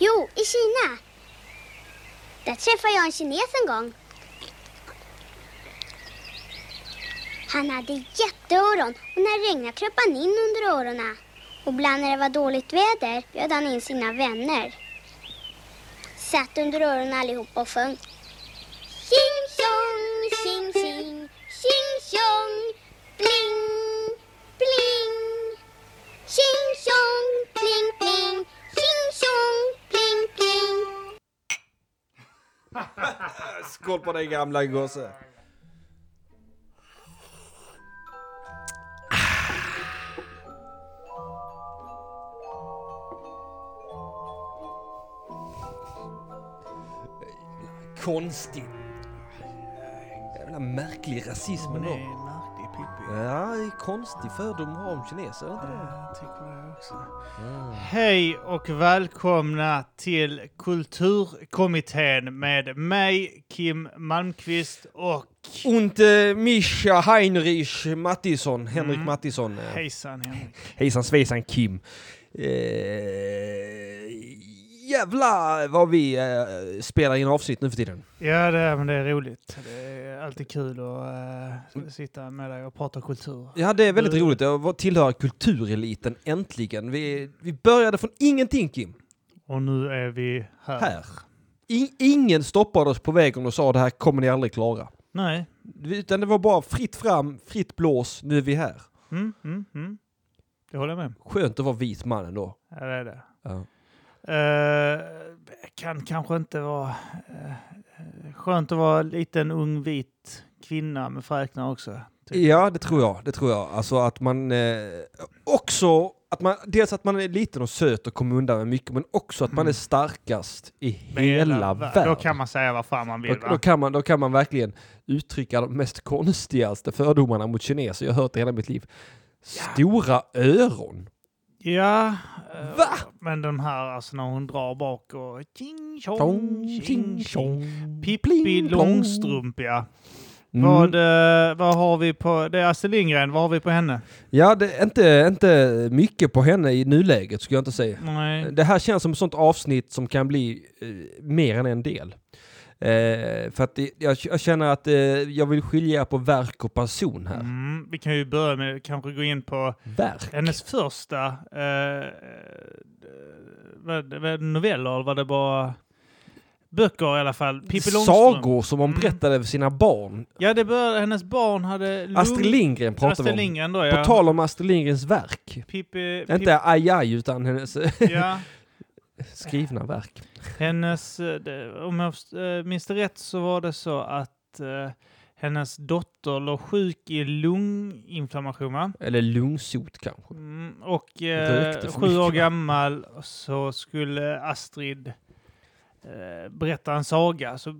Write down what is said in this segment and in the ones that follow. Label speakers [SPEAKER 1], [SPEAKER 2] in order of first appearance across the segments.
[SPEAKER 1] Jo, i Kina. Där träffade jag en kines en gång. Han hade jätteöron och när det regnade kröp han in under öronen. Och ibland när det var dåligt väder bjöd han in sina vänner. Satt under öronen allihopa och sjöng. Tjing tjong, tjing tjing, tjing tjong, bling, bling. Tjing tjong, bling bling, tjing tjong, bling bling.
[SPEAKER 2] Skål på dig gamla gosse. Konstig. Jävla märklig rasism
[SPEAKER 3] Men det
[SPEAKER 2] ändå.
[SPEAKER 3] är märklig Pippi.
[SPEAKER 2] Ja, det är konstig fördom har om kineser, är det inte det?
[SPEAKER 3] Jag tycker det också.
[SPEAKER 4] Hej och välkomna till Kulturkommittén med mig, Kim Malmqvist och
[SPEAKER 2] Und eh, Mischa Heinrich Mattisson, Henrik Mattisson. eh,
[SPEAKER 4] hejsan Henrik.
[SPEAKER 2] Hejsan svejsan Kim. Eh, jävla vad vi eh, spelar in avsnitt nu för tiden.
[SPEAKER 4] Ja, det, men det är roligt. Det är alltid kul att eh, sitta med dig och prata kultur.
[SPEAKER 2] Ja, det är väldigt
[SPEAKER 4] Mm.
[SPEAKER 2] roligt. Jag var- tillhör kultureliten äntligen. Vi, vi började från ingenting Kim.
[SPEAKER 4] Och nu är vi här.
[SPEAKER 2] Här. I, ingen stoppade oss på vägen och sa det här kommer ni aldrig klara.
[SPEAKER 4] Nej.
[SPEAKER 2] Utan det var bara fritt fram, fritt blås, nu är vi här.
[SPEAKER 4] Mm, mm, mm. Det håller jag med om.
[SPEAKER 2] Skönt att vara vit man ändå.
[SPEAKER 4] Ja, det är det.
[SPEAKER 2] Ja.
[SPEAKER 4] Eh, kan kanske inte vara... eh, skönt att vara en liten ung vit kvinna med fräknar också. typ.
[SPEAKER 2] Ja, det tror jag. Det tror jag. Alltså att man eh, också... Att man, dels att man är liten och söt och kommer undan med mycket, men också att man är starkast i
[SPEAKER 4] Mm. Med
[SPEAKER 2] hela,
[SPEAKER 4] vär-
[SPEAKER 2] världen.
[SPEAKER 4] Då kan man säga vad fan man vill.
[SPEAKER 2] då, då,
[SPEAKER 4] Va?
[SPEAKER 2] kan man, då kan man verkligen uttrycka de mest konstigaste fördomarna mot kineser. Jag har hört det hela mitt liv. Stora öron.
[SPEAKER 4] Ja. eh,
[SPEAKER 2] Va?
[SPEAKER 4] Men den här, alltså när hon drar bak och... Ching,
[SPEAKER 2] Tjong,
[SPEAKER 4] tjong,
[SPEAKER 2] tjing, tjong.
[SPEAKER 4] Pippi
[SPEAKER 2] Pling, plong.
[SPEAKER 4] Långstrump, ja.
[SPEAKER 2] Mm.
[SPEAKER 4] Vad, eh, vad har vi på... Det är Astrid Lindgren. Vad har vi på henne?
[SPEAKER 2] Ja, det är inte, inte mycket på henne i nuläget skulle jag inte säga.
[SPEAKER 4] Nej.
[SPEAKER 2] Eh, Det här känns som ett sånt avsnitt som kan bli eh, mer än en del. Eh, för att det, jag, jag känner att eh, jag vill skilja på verk och person här.
[SPEAKER 4] Mm, vi kan ju börja med kanske gå in på
[SPEAKER 2] Verk?
[SPEAKER 4] hennes första eh, eh, vad, vad, noveller, eller var det bara böcker i alla fall? Pippi Långstrump.
[SPEAKER 2] Sagor som hon
[SPEAKER 4] Mm.
[SPEAKER 2] berättade för sina barn.
[SPEAKER 4] Ja, det började, hennes barn hade... lung-
[SPEAKER 2] Astrid Lindgren pratar vi
[SPEAKER 4] Astrid
[SPEAKER 2] om.
[SPEAKER 4] Lindgren då,
[SPEAKER 2] På
[SPEAKER 4] ja.
[SPEAKER 2] tal om Astrid Lindgrens verk.
[SPEAKER 4] Pippi, Pippi,
[SPEAKER 2] Inte aj, aj utan hennes eh,
[SPEAKER 4] ja.
[SPEAKER 2] skrivna verk.
[SPEAKER 4] Hennes, eh, det, om jag först- eh, minns det rätt så var det så att eh, hennes dotter låg sjuk i lunginflammation, va?
[SPEAKER 2] Eller lungsot kanske.
[SPEAKER 4] Mm, och
[SPEAKER 2] Rökte
[SPEAKER 4] eh,
[SPEAKER 2] för
[SPEAKER 4] sju år
[SPEAKER 2] mycket.
[SPEAKER 4] gammal så skulle Astrid eh, berätta en saga. Så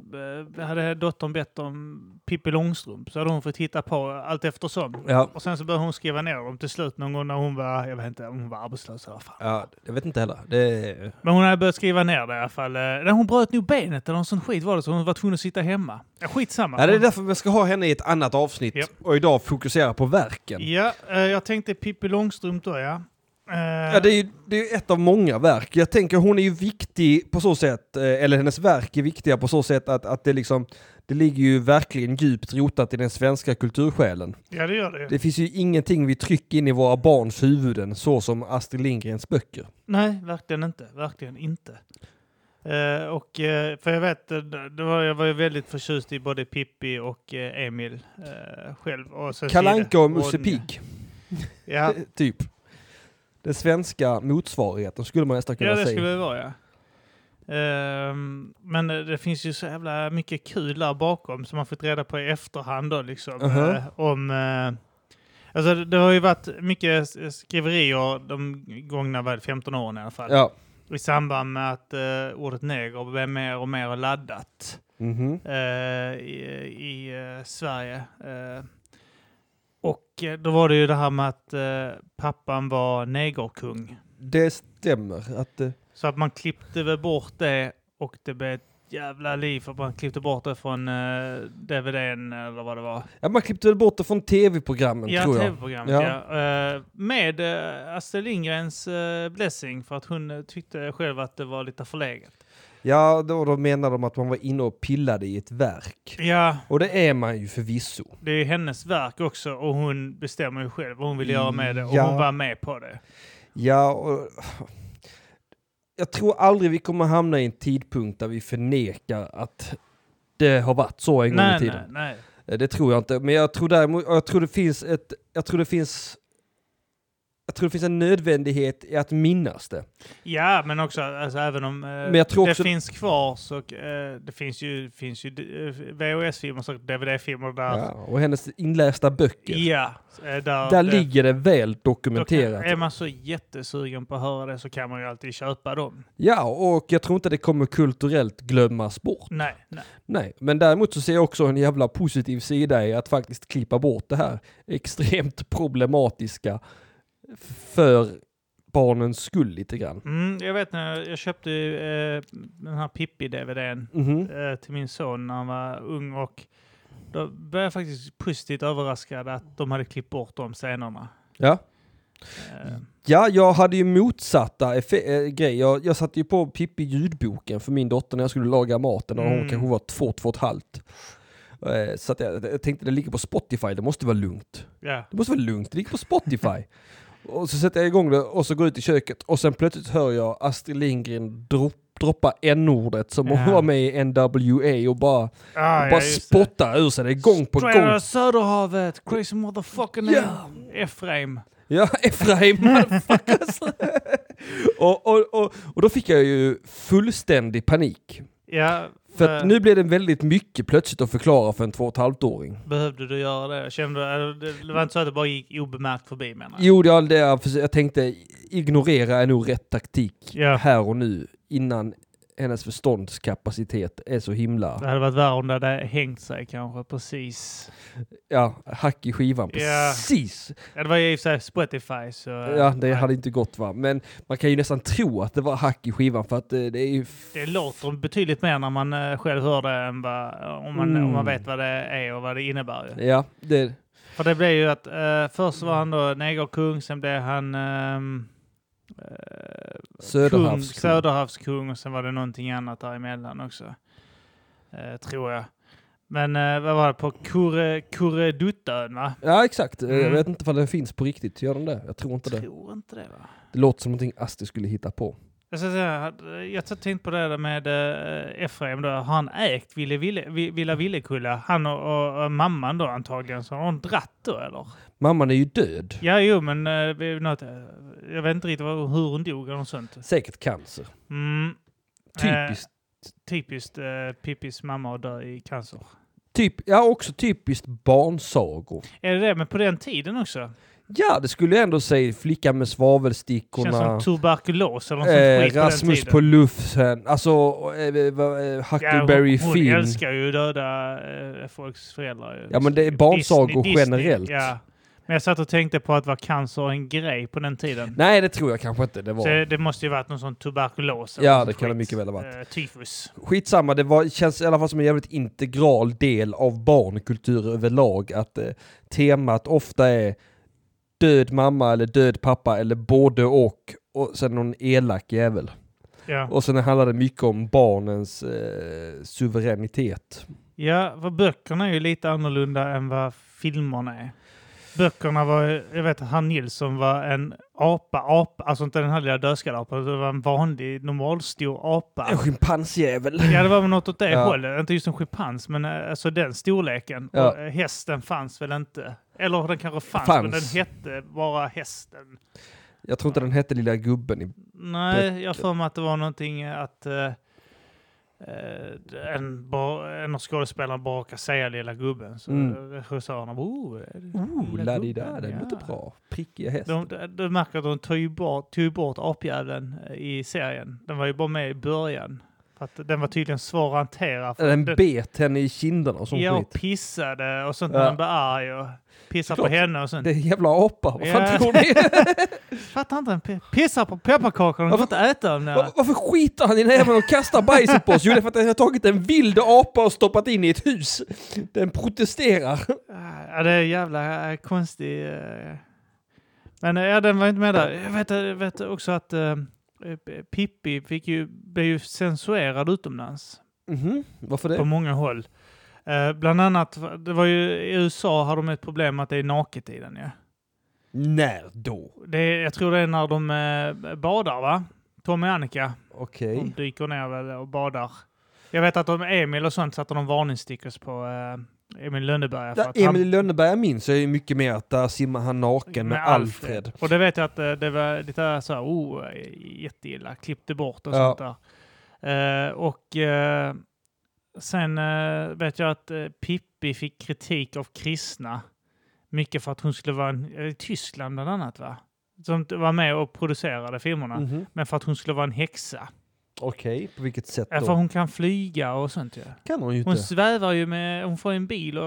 [SPEAKER 4] eh, hade dottern bett om Pippi Långstrump så hade hon fått hitta på allt eftersom.
[SPEAKER 2] Ja,
[SPEAKER 4] Och sen så började hon skriva ner dem till slut någon gång när hon var, jag vet inte, om hon var arbetslös eller vad fan.
[SPEAKER 2] ja, jag vet inte heller. Det,
[SPEAKER 4] Men hon hade börjat skriva ner det i alla fall. Eh, nej, hon bröt nog benet eller någon sån skit var det så hon var tvungen att sitta hemma. Ja, skitsamma.
[SPEAKER 2] ja, det är därför vi ska ha henne i ett annat avsnitt
[SPEAKER 4] Japp.
[SPEAKER 2] och idag fokusera på verken.
[SPEAKER 4] Ja, eh, jag tänkte Pippi Långstrump då ja. Eh,
[SPEAKER 2] Ja, det är ju det är ju ett av många verk. Jag tänker hon är ju viktig på så sätt, eh, eller hennes verk är viktiga på så sätt att, att det liksom, det ligger ju verkligen djupt rotat i den svenska kultursjälen.
[SPEAKER 4] ja, det gör det ju.
[SPEAKER 2] Det finns ju ingenting vi trycker in i våra barns huvuden så som Astrid Lindgrens böcker.
[SPEAKER 4] Nej, verkligen inte. Verkligen inte. Eh, och, eh, för jag vet, eh, det var, jag var ju väldigt förtjust i både Pippi och eh, Emil eh, själv. Och sen
[SPEAKER 2] Kalle
[SPEAKER 4] Sida.
[SPEAKER 2] Anka och Musse
[SPEAKER 4] Ronja.
[SPEAKER 2] Pigg,
[SPEAKER 4] Ja,
[SPEAKER 2] eh, typ. Den svenska motsvarigheten skulle man nästan kunna
[SPEAKER 4] ja det
[SPEAKER 2] säga.
[SPEAKER 4] skulle det vara ja. Ehm, men eh, det finns ju så jävla mycket kul där bakom som man fått reda på i efterhand då liksom.
[SPEAKER 2] Mhm.
[SPEAKER 4] eh, om, eh, alltså det, det har ju varit mycket s- skriverier de gångna vad är det, 15 åren i alla fall.
[SPEAKER 2] Ja.
[SPEAKER 4] I samband med att eh, ordet neger blev mer och mer laddat.
[SPEAKER 2] Mhm.
[SPEAKER 4] eh, i, i eh, Sverige. Eh, och eh, då var det ju det här med att eh, pappan var negerkung.
[SPEAKER 2] Det stämmer. Att, eh,
[SPEAKER 4] Så att man klippte väl bort det och det blev jävla liv för att man klippte bort det från eh, DVDn eller vad det var.
[SPEAKER 2] Ja, man klippte väl bort det från tv-programmen
[SPEAKER 4] Ja,
[SPEAKER 2] tror jag.
[SPEAKER 4] tv-programmet ja. Eh, med eh, Astrid Lindgrens eh, blessing för att hon eh, tyckte själv att det var lite förlegat.
[SPEAKER 2] Ja, då, då menade de att man var inne och pillade i ett verk.
[SPEAKER 4] Ja,
[SPEAKER 2] Och det är man ju förvisso.
[SPEAKER 4] det är hennes verk också och hon bestämmer ju själv vad hon vill göra med det och
[SPEAKER 2] Ja.
[SPEAKER 4] hon var med på det.
[SPEAKER 2] Ja, och... Jag tror aldrig vi kommer hamna i en tidpunkt där vi förnekar att det har varit så en gång i
[SPEAKER 4] nej,
[SPEAKER 2] tiden.
[SPEAKER 4] nej, nej.
[SPEAKER 2] Eh, Det tror jag inte, men jag tror däremot, jag tror det finns ett, jag tror det finns, jag tror det finns en nödvändighet i att minnas det.
[SPEAKER 4] Ja, men också alltså, även om eh,
[SPEAKER 2] Men jag tror
[SPEAKER 4] det
[SPEAKER 2] också-
[SPEAKER 4] finns kvar så eh, det finns ju, finns ju eh, VHS-filmer och DVD-filmer där.
[SPEAKER 2] Ja, och hennes inlästa böcker.
[SPEAKER 4] Ja, eh, där,
[SPEAKER 2] Där
[SPEAKER 4] det-
[SPEAKER 2] ligger det väl
[SPEAKER 4] då kan-
[SPEAKER 2] dokumenterat.
[SPEAKER 4] Är man så jättesugen på att höra det så kan man ju alltid köpa dem.
[SPEAKER 2] Ja, och jag tror inte det kommer kulturellt glömmas bort.
[SPEAKER 4] Nej, nej.
[SPEAKER 2] Nej, men däremot så ser jag också en jävla positiv sida i att faktiskt klippa bort det här extremt problematiska för barnens skull lite grann.
[SPEAKER 4] Mm, jag vet när jag köpte eh, den här Pippi-DVDn
[SPEAKER 2] Mhm.
[SPEAKER 4] eh, till min son när han var ung och då blev jag faktiskt positivt överraskad att de hade klippt bort de scenerna.
[SPEAKER 2] Ja.
[SPEAKER 4] Eh,
[SPEAKER 2] Ja, jag hade ju motsatta effe- äh, grejer. Jag, jag satte ju på Pippi ljudboken för min dotter när jag skulle laga maten och hon
[SPEAKER 4] Mm.
[SPEAKER 2] kanske var två, två och ett halvt. Eh, Så att jag, jag tänkte det ligger på Spotify, det måste vara lugnt.
[SPEAKER 4] ja.
[SPEAKER 2] Det måste vara lugnt, det ligger på Spotify. och så sätter jag igång det och så går jag ut i köket och sen plötsligt hör jag Astrid Lindgren dro- droppa n-ordet som hon
[SPEAKER 4] Ja.
[SPEAKER 2] var med i NWA och bara,
[SPEAKER 4] Ah,
[SPEAKER 2] och
[SPEAKER 4] ja,
[SPEAKER 2] bara
[SPEAKER 4] just det.
[SPEAKER 2] spotta ur sig det gång på
[SPEAKER 4] Stränder
[SPEAKER 2] gång.
[SPEAKER 4] Söderhavet, crazy motherfucking
[SPEAKER 2] Ja.
[SPEAKER 4] name. Efraim.
[SPEAKER 2] Ja, Efraim motherfuckers. och, och, och, och då fick jag ju fullständig panik.
[SPEAKER 4] Ja,
[SPEAKER 2] För att
[SPEAKER 4] eh,
[SPEAKER 2] nu blev det väldigt mycket plötsligt att förklara för en två och ett halvt åring.
[SPEAKER 4] behövde du göra det? Kände du, eller det var inte så att det bara gick obemärkt förbi menar jag?
[SPEAKER 2] Jo, det, det, jag försö- jag tänkte ignorera är nog rätt taktik
[SPEAKER 4] Ja.
[SPEAKER 2] här och nu innan hennes förståndskapacitet är så
[SPEAKER 4] Det
[SPEAKER 2] himla,
[SPEAKER 4] hade varit värre om det hade hängt sig kanske precis.
[SPEAKER 2] ja, hack i skivan.
[SPEAKER 4] Ja.
[SPEAKER 2] Precis!
[SPEAKER 4] Ja, det var ju i och för sig Spotify så...
[SPEAKER 2] Ja, det hade inte gått va. Men man kan ju nästan tro att det var hack i skivan för att eh, det är ju... f-
[SPEAKER 4] Det låter betydligt mer när man eh, själv hör det än vad, om, man, om man vet vad det är och vad det innebär. Ju.
[SPEAKER 2] Mm. Ja, det...
[SPEAKER 4] För det blev ju att eh, först var han då negerkung, sen blev han ehm, eh, kung,
[SPEAKER 2] Söderhavs.
[SPEAKER 4] Söderhavskung och sen var det någonting annat däremellan också. Eh, tror jag. Men eh, vad var det på Kurre- Kurreduttön va?
[SPEAKER 2] Ja, exakt. Eh, Jag
[SPEAKER 4] Mm.
[SPEAKER 2] vet inte ifall den finns på riktigt. Gör den det? Jag tror inte det.
[SPEAKER 4] Tror inte det va?
[SPEAKER 2] Det låter som någonting Astrid skulle hitta på.
[SPEAKER 4] Jag, ska säga, jag hade- jag har tänkt på det där med eh, Efraim. Då. Har han ägt Ville, Ville, Vi- Villa Villekulla? Han och, och, och mamman då antagligen. Så har hon dratt då eller?
[SPEAKER 2] Mamman är ju död.
[SPEAKER 4] Ja, jo, men eh, det är något, eh, jag vet inte riktigt vad, hur hon dog eller något sånt.
[SPEAKER 2] Säkert cancer.
[SPEAKER 4] Mm,
[SPEAKER 2] Typiskt.
[SPEAKER 4] typiskt eh, Pippis mamma att dö i cancer.
[SPEAKER 2] Typ, ja, också typiskt barnsagor.
[SPEAKER 4] Är det det? Men på den tiden också?
[SPEAKER 2] Ja, det skulle jag ändå säga. Flickan med
[SPEAKER 4] Känns
[SPEAKER 2] svavelstickorna.
[SPEAKER 4] som tuberkulos eller något sånt
[SPEAKER 2] Eh,
[SPEAKER 4] skit på den
[SPEAKER 2] Rasmus
[SPEAKER 4] tiden.
[SPEAKER 2] på luften. Alltså, eh, eh, vad, eh, Huckleberry
[SPEAKER 4] ja, hon, Hon
[SPEAKER 2] Finn.
[SPEAKER 4] älskar ju döda eh, folks föräldrar. ju.
[SPEAKER 2] Ja, men det är barnsagor
[SPEAKER 4] Disney- Disney,
[SPEAKER 2] generellt.
[SPEAKER 4] Ja. Men jag satt och tänkte på att var cancer en grej på den tiden?
[SPEAKER 2] Nej, det tror jag kanske inte det
[SPEAKER 4] Så
[SPEAKER 2] var.
[SPEAKER 4] det måste ju varit någon sån tuberkulos.
[SPEAKER 2] Ja,
[SPEAKER 4] något sånt
[SPEAKER 2] det kan det
[SPEAKER 4] skit.
[SPEAKER 2] mycket väl ha varit.
[SPEAKER 4] Eh, tyfus.
[SPEAKER 2] Skitsamma, det var, känns i alla fall som en jävligt integral del av barnkultur överlag. Att eh, temat ofta är död mamma eller död pappa eller både och. Och sen någon elak jävel.
[SPEAKER 4] Ja.
[SPEAKER 2] Och sen handlar det mycket om barnens eh, suveränitet.
[SPEAKER 4] ja, för böckerna är ju lite annorlunda än vad filmerna är. Böckerna var ju- jag vet att han Nilsson var en apa, apa, alltså inte den här lilla dödskallapan, utan det var en vanlig normalstor apa.
[SPEAKER 2] En schimpansjävel.
[SPEAKER 4] Ja, det var väl något åt det
[SPEAKER 2] Ja.
[SPEAKER 4] hållet. Inte just en schimpans, men eh, alltså den storleken.
[SPEAKER 2] Ja.
[SPEAKER 4] Och eh, hästen fanns väl inte? Eller den kanske fanns, men den
[SPEAKER 2] Fanns.
[SPEAKER 4] hette bara hästen.
[SPEAKER 2] Jag tror inte den hette Lilla gubben i
[SPEAKER 4] Nej, jag har för mig att det var någonting eh, att eh, eh, en, bar, en av skådespelarna bara råkade säga lilla gubben. Så
[SPEAKER 2] Mm.
[SPEAKER 4] mm. regissörerna bara, oh, är det
[SPEAKER 2] Oh, la di da, den
[SPEAKER 4] ja."
[SPEAKER 2] låter bra. Prickiga hästen.
[SPEAKER 4] De, de, de märker att de tog ju bort, tog ju bort apjäveln eh, i serien. Den var ju bara med i början. För att den var tydligen svår att hantera. För
[SPEAKER 2] Den
[SPEAKER 4] den-
[SPEAKER 2] bet henne i kinderna och sånt
[SPEAKER 4] Ja, och
[SPEAKER 2] skit.
[SPEAKER 4] pissade och sånt när
[SPEAKER 2] Ja.
[SPEAKER 4] han blev arg och pissade på
[SPEAKER 2] Såklart.
[SPEAKER 4] henne och sånt.
[SPEAKER 2] Det är en jävla apa, vad fan
[SPEAKER 4] Ja.
[SPEAKER 2] tror ni?
[SPEAKER 4] Fattar inte, han pi- pissar på pepparkakan och får inte äta dem.
[SPEAKER 2] Var-
[SPEAKER 4] där.
[SPEAKER 2] Varför skiter han i näven och kastar bajset på oss? Jo, det är för att jag har tagit en vild apa och stoppat in i ett hus. Den protesterar.
[SPEAKER 4] Ja, det är jävla eh, konstig... eh. Men eh, ja, den var inte med där. Jag vet, jag vet också att eh, eh, Pippi fick ju, blev ju censurerad utomlands
[SPEAKER 2] Mhm, varför
[SPEAKER 4] på
[SPEAKER 2] det?
[SPEAKER 4] många håll. Eh, bland annat, det var ju, i USA har de ett problem att det är naket i den ju.
[SPEAKER 2] När då?
[SPEAKER 4] Det är, jag tror det är när de eh, badar va? Tommy och Annika,
[SPEAKER 2] Okej.
[SPEAKER 4] de dyker ner väl och badar. Jag vet att de Emil och sånt satte de varningsstickers på eh, Emil Lönneberga. för
[SPEAKER 2] Där
[SPEAKER 4] att han-
[SPEAKER 2] Emil Lönneberga minns jag ju mycket mer att där simmar han naken med, Alfred.
[SPEAKER 4] Och det vet jag att eh, det var lite så här, oh, jätteilla, klippte bort och
[SPEAKER 2] Ja.
[SPEAKER 4] sånt där. Eh, och eh, sen eh, vet jag att eh, Pippi fick kritik av kristna. Mycket för att hon skulle vara en, eh, i Tyskland bland annat va? Som inte var med och producerade filmerna.
[SPEAKER 2] Mhm.
[SPEAKER 4] Men för att hon skulle vara en häxa.
[SPEAKER 2] Okej, på vilket sätt
[SPEAKER 4] Ja,
[SPEAKER 2] då?
[SPEAKER 4] för hon kan flyga och sånt ju. Ja.
[SPEAKER 2] kan hon ju inte.
[SPEAKER 4] Hon svävar ju med, hon får ju en bil och,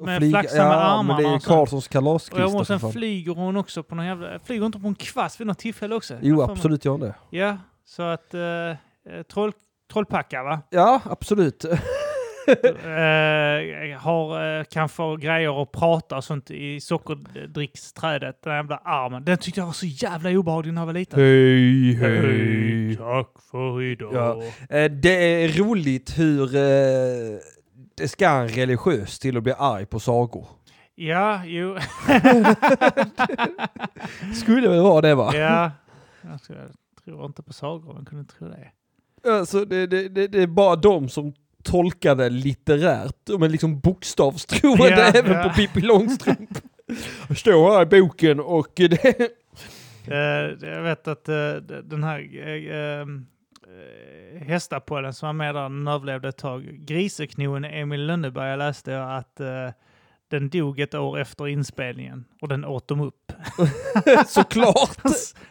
[SPEAKER 2] Och
[SPEAKER 4] med
[SPEAKER 2] flyga-
[SPEAKER 4] flaxande
[SPEAKER 2] ja,
[SPEAKER 4] armarna
[SPEAKER 2] men det är
[SPEAKER 4] och sånt.
[SPEAKER 2] Karlssons
[SPEAKER 4] Och jag
[SPEAKER 2] kalaskrista
[SPEAKER 4] måste
[SPEAKER 2] för
[SPEAKER 4] sen
[SPEAKER 2] fan.
[SPEAKER 4] flyger hon också på någon jävla... Flyger hon inte på en kvast vid något tillfälle också? Jag
[SPEAKER 2] Jo,
[SPEAKER 4] får mig-
[SPEAKER 2] absolut gör hon det.
[SPEAKER 4] Ja, så att... eh, Eh, troll, trollpacka va?
[SPEAKER 2] Ja, absolut.
[SPEAKER 4] eh, har, eh, kan få grejer och prata och sånt i sockerdricksträdet. Den jävla armen. Den tyckte jag var så jävla obehaglig när jag var liten.
[SPEAKER 2] Hej,
[SPEAKER 4] tack för idag.
[SPEAKER 2] Ja. Eh, Det är roligt hur eh, det ska en religiös till att bli arg på sagor.
[SPEAKER 4] Ja, jo.
[SPEAKER 2] Skulle väl vara det va?
[SPEAKER 4] ja. Jag tror- jag tror inte på sagor, men kunde tro det.
[SPEAKER 2] Alltså, det, det, det, det är bara de som tolkar det litterärt. De är liksom bokstavstroende
[SPEAKER 4] Ja,
[SPEAKER 2] även
[SPEAKER 4] ja.
[SPEAKER 2] på Pippi Långstrump. Jag står här i boken och det...
[SPEAKER 4] Eh, jag vet att eh, d- den här eh, ehm, eh, hästapollen som var med där, den överlevde ett tag. Griseknoen Emil Lönneberg läste jag att eh, den dog ett år efter inspelningen och den åt dem upp.
[SPEAKER 2] Såklart!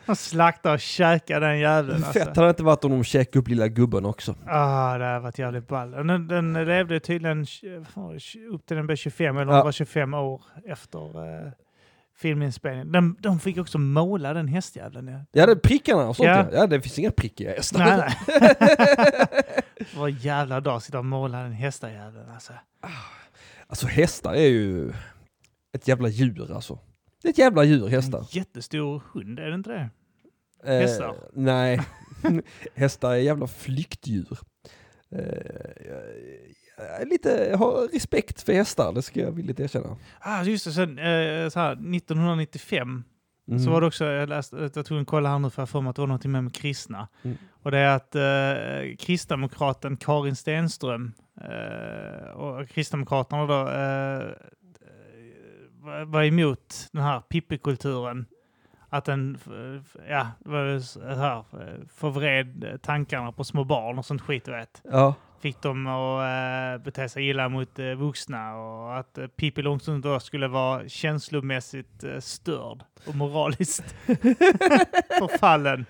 [SPEAKER 4] De slaktade och käkade den jäveln.
[SPEAKER 2] Alltså, Fett
[SPEAKER 4] Alltså.
[SPEAKER 2] hade det inte varit om de käkade upp lilla gubben också.
[SPEAKER 4] Ah, det hade varit jävligt ball. Den, den levde tydligen tj- vad fan var det, tj- upp till den blev 25 eller
[SPEAKER 2] Ja.
[SPEAKER 4] var 25 år efter eh, filminspelningen. De, de fick också måla den hästjäveln. ja.
[SPEAKER 2] Ja, det är prickarna och sånt
[SPEAKER 4] Ja.
[SPEAKER 2] ja. ja. det finns inga prickiga hästar.
[SPEAKER 4] Nej, nej. Vad jävla dag sitta och måla den hästajäveln alltså.
[SPEAKER 2] Alltså hästar är ju ett jävla djur alltså. Det är ett jävla djur, hästar.
[SPEAKER 4] En jättestor hund, är det inte det?
[SPEAKER 2] Eh,
[SPEAKER 4] Hästar?
[SPEAKER 2] nej, hästar är jävla flyktdjur. Eh, jag, jag, är lite, jag har respekt för hästar, det ska jag villigt erkänna.
[SPEAKER 4] Ah, just det, sen eh, så här, 1995
[SPEAKER 2] Mm.
[SPEAKER 4] så var det också, jag läste, jag tror kolla här nu för jag har för mig att det var någonting med, med kristna.
[SPEAKER 2] Mm.
[SPEAKER 4] Och det är att eh, kristdemokraten Karin Stenström eh, och kristdemokraterna då eh, var- var emot den här pippikulturen. Att den f- ja, var ju så här, eh, förvred tankarna på små barn och sånt skit, du vet
[SPEAKER 2] Ja,
[SPEAKER 4] fick dem att eh, bete sig illa mot eh, vuxna och att eh, Pippi Långstrump då skulle vara känslomässigt eh, störd och moraliskt förfallen,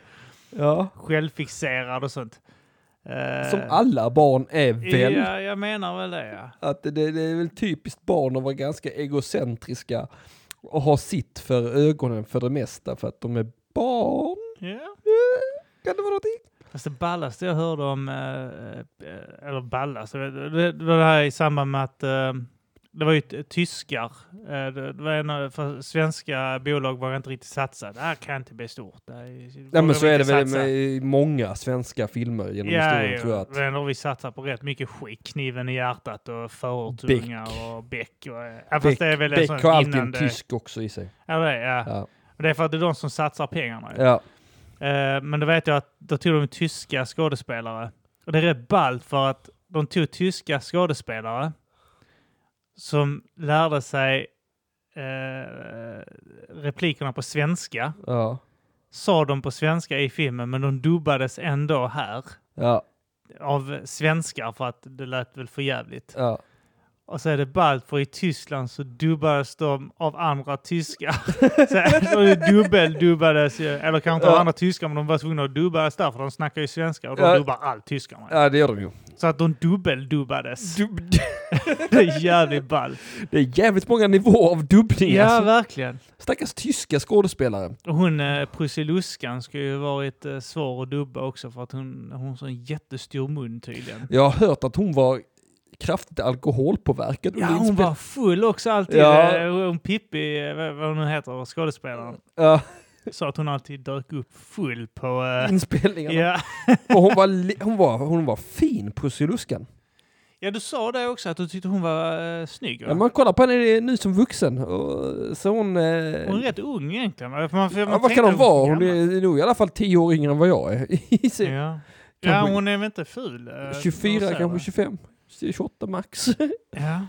[SPEAKER 2] ja.
[SPEAKER 4] självfixerad och sånt. Eh,
[SPEAKER 2] Som alla barn är väl.
[SPEAKER 4] Ja, jag menar väl det ja.
[SPEAKER 2] Att det, det är väl typiskt barn att vara ganska egocentriska och ha sitt för ögonen för det mesta för att de är barn.
[SPEAKER 4] ja.
[SPEAKER 2] Eh, Kan det vara någonting?
[SPEAKER 4] Fast det ballaste jag hörde om, eh, eh, eller ballaste, det det- det var det här i samband med att eh, det var ju t- tyskar. Eh, det det var en, av- för svenska bolag var inte riktigt satsa. Det här kan inte bli stort. Det här är-
[SPEAKER 2] Ja men så
[SPEAKER 4] vågar
[SPEAKER 2] är
[SPEAKER 4] vi
[SPEAKER 2] det
[SPEAKER 4] inte
[SPEAKER 2] väl med
[SPEAKER 4] satsa.
[SPEAKER 2] många svenska filmer genom historien tror jag. Att,
[SPEAKER 4] men då har vi satsar på rätt mycket skit. Kniven i hjärtat och förortungar och Beck. Och, eh, ja, fast
[SPEAKER 2] Beck-
[SPEAKER 4] det är väl en
[SPEAKER 2] Beck har
[SPEAKER 4] sån
[SPEAKER 2] alltid en
[SPEAKER 4] innan det,
[SPEAKER 2] tysk också i sig.
[SPEAKER 4] Ja, det, är, ja.
[SPEAKER 2] Ja.
[SPEAKER 4] Och det är för att det är de som satsar pengarna. ju.
[SPEAKER 2] Ja.
[SPEAKER 4] Eh, men då vet jag att då tog de tyska skådespelare. Och det är rätt ballt för att de tog tyska skådespelare som lärde sig eh, replikerna på svenska.
[SPEAKER 2] Ja.
[SPEAKER 4] Sa de på svenska i filmen, men de dubbades ändå här
[SPEAKER 2] Ja.
[SPEAKER 4] av svenskar för att det lät väl för jävligt.
[SPEAKER 2] Ja.
[SPEAKER 4] Och så är det ballt, för i Tyskland så dubbades de av andra tyskar. så de dubbeldubbades ju, eller kanske inte av
[SPEAKER 2] Ja.
[SPEAKER 4] andra tyskar, men de var tvungna att dubbas där, för de snackar ju svenska och de
[SPEAKER 2] Ja.
[SPEAKER 4] dubbar all tyska. Man.
[SPEAKER 2] Ja, det gör de ju.
[SPEAKER 4] Så att de dubbeldubbades.
[SPEAKER 2] Dubb-
[SPEAKER 4] det är jävligt ballt.
[SPEAKER 2] Det är jävligt många nivåer av dubbning
[SPEAKER 4] Ja,
[SPEAKER 2] alltså.
[SPEAKER 4] verkligen.
[SPEAKER 2] Stackars tyska skådespelare.
[SPEAKER 4] Och hon eh, Prussiluskan ska ju varit eh, svår att dubba också för att hon, hon har så en jättestor mun tydligen.
[SPEAKER 2] Jag har hört att hon var kraftigt alkoholpåverkad
[SPEAKER 4] Ja,
[SPEAKER 2] under
[SPEAKER 4] hon
[SPEAKER 2] inspel-
[SPEAKER 4] var full också alltid.
[SPEAKER 2] Ja.
[SPEAKER 4] Eh, Hon Pippi, eh, vad vad hon nu heter, skådespelaren,
[SPEAKER 2] Ja,
[SPEAKER 4] sa att hon alltid dök upp full på... eh,
[SPEAKER 2] inspelningarna.
[SPEAKER 4] ja.
[SPEAKER 2] Och hon var, li- hon var, hon var fin, Prussiluskan.
[SPEAKER 4] ja, du sa det också, att du tyckte hon var eh, snygg.
[SPEAKER 2] Ja.
[SPEAKER 4] va?
[SPEAKER 2] Man kollar på henne nu som vuxen. Och, så hon... Eh,
[SPEAKER 4] Hon är rätt ung egentligen. va? För man, för man
[SPEAKER 2] ja, vad
[SPEAKER 4] tänkte
[SPEAKER 2] kan hon vara?
[SPEAKER 4] var
[SPEAKER 2] Hon
[SPEAKER 4] gammal.
[SPEAKER 2] är nog i alla fall 10 år yngre än vad jag är. I sin-
[SPEAKER 4] Ja. ja,
[SPEAKER 2] Kanske-
[SPEAKER 4] hon är väl inte ful? eh, när
[SPEAKER 2] 24,
[SPEAKER 4] hon säger
[SPEAKER 2] kanske
[SPEAKER 4] det.
[SPEAKER 2] 25. 28 max.
[SPEAKER 4] Ja.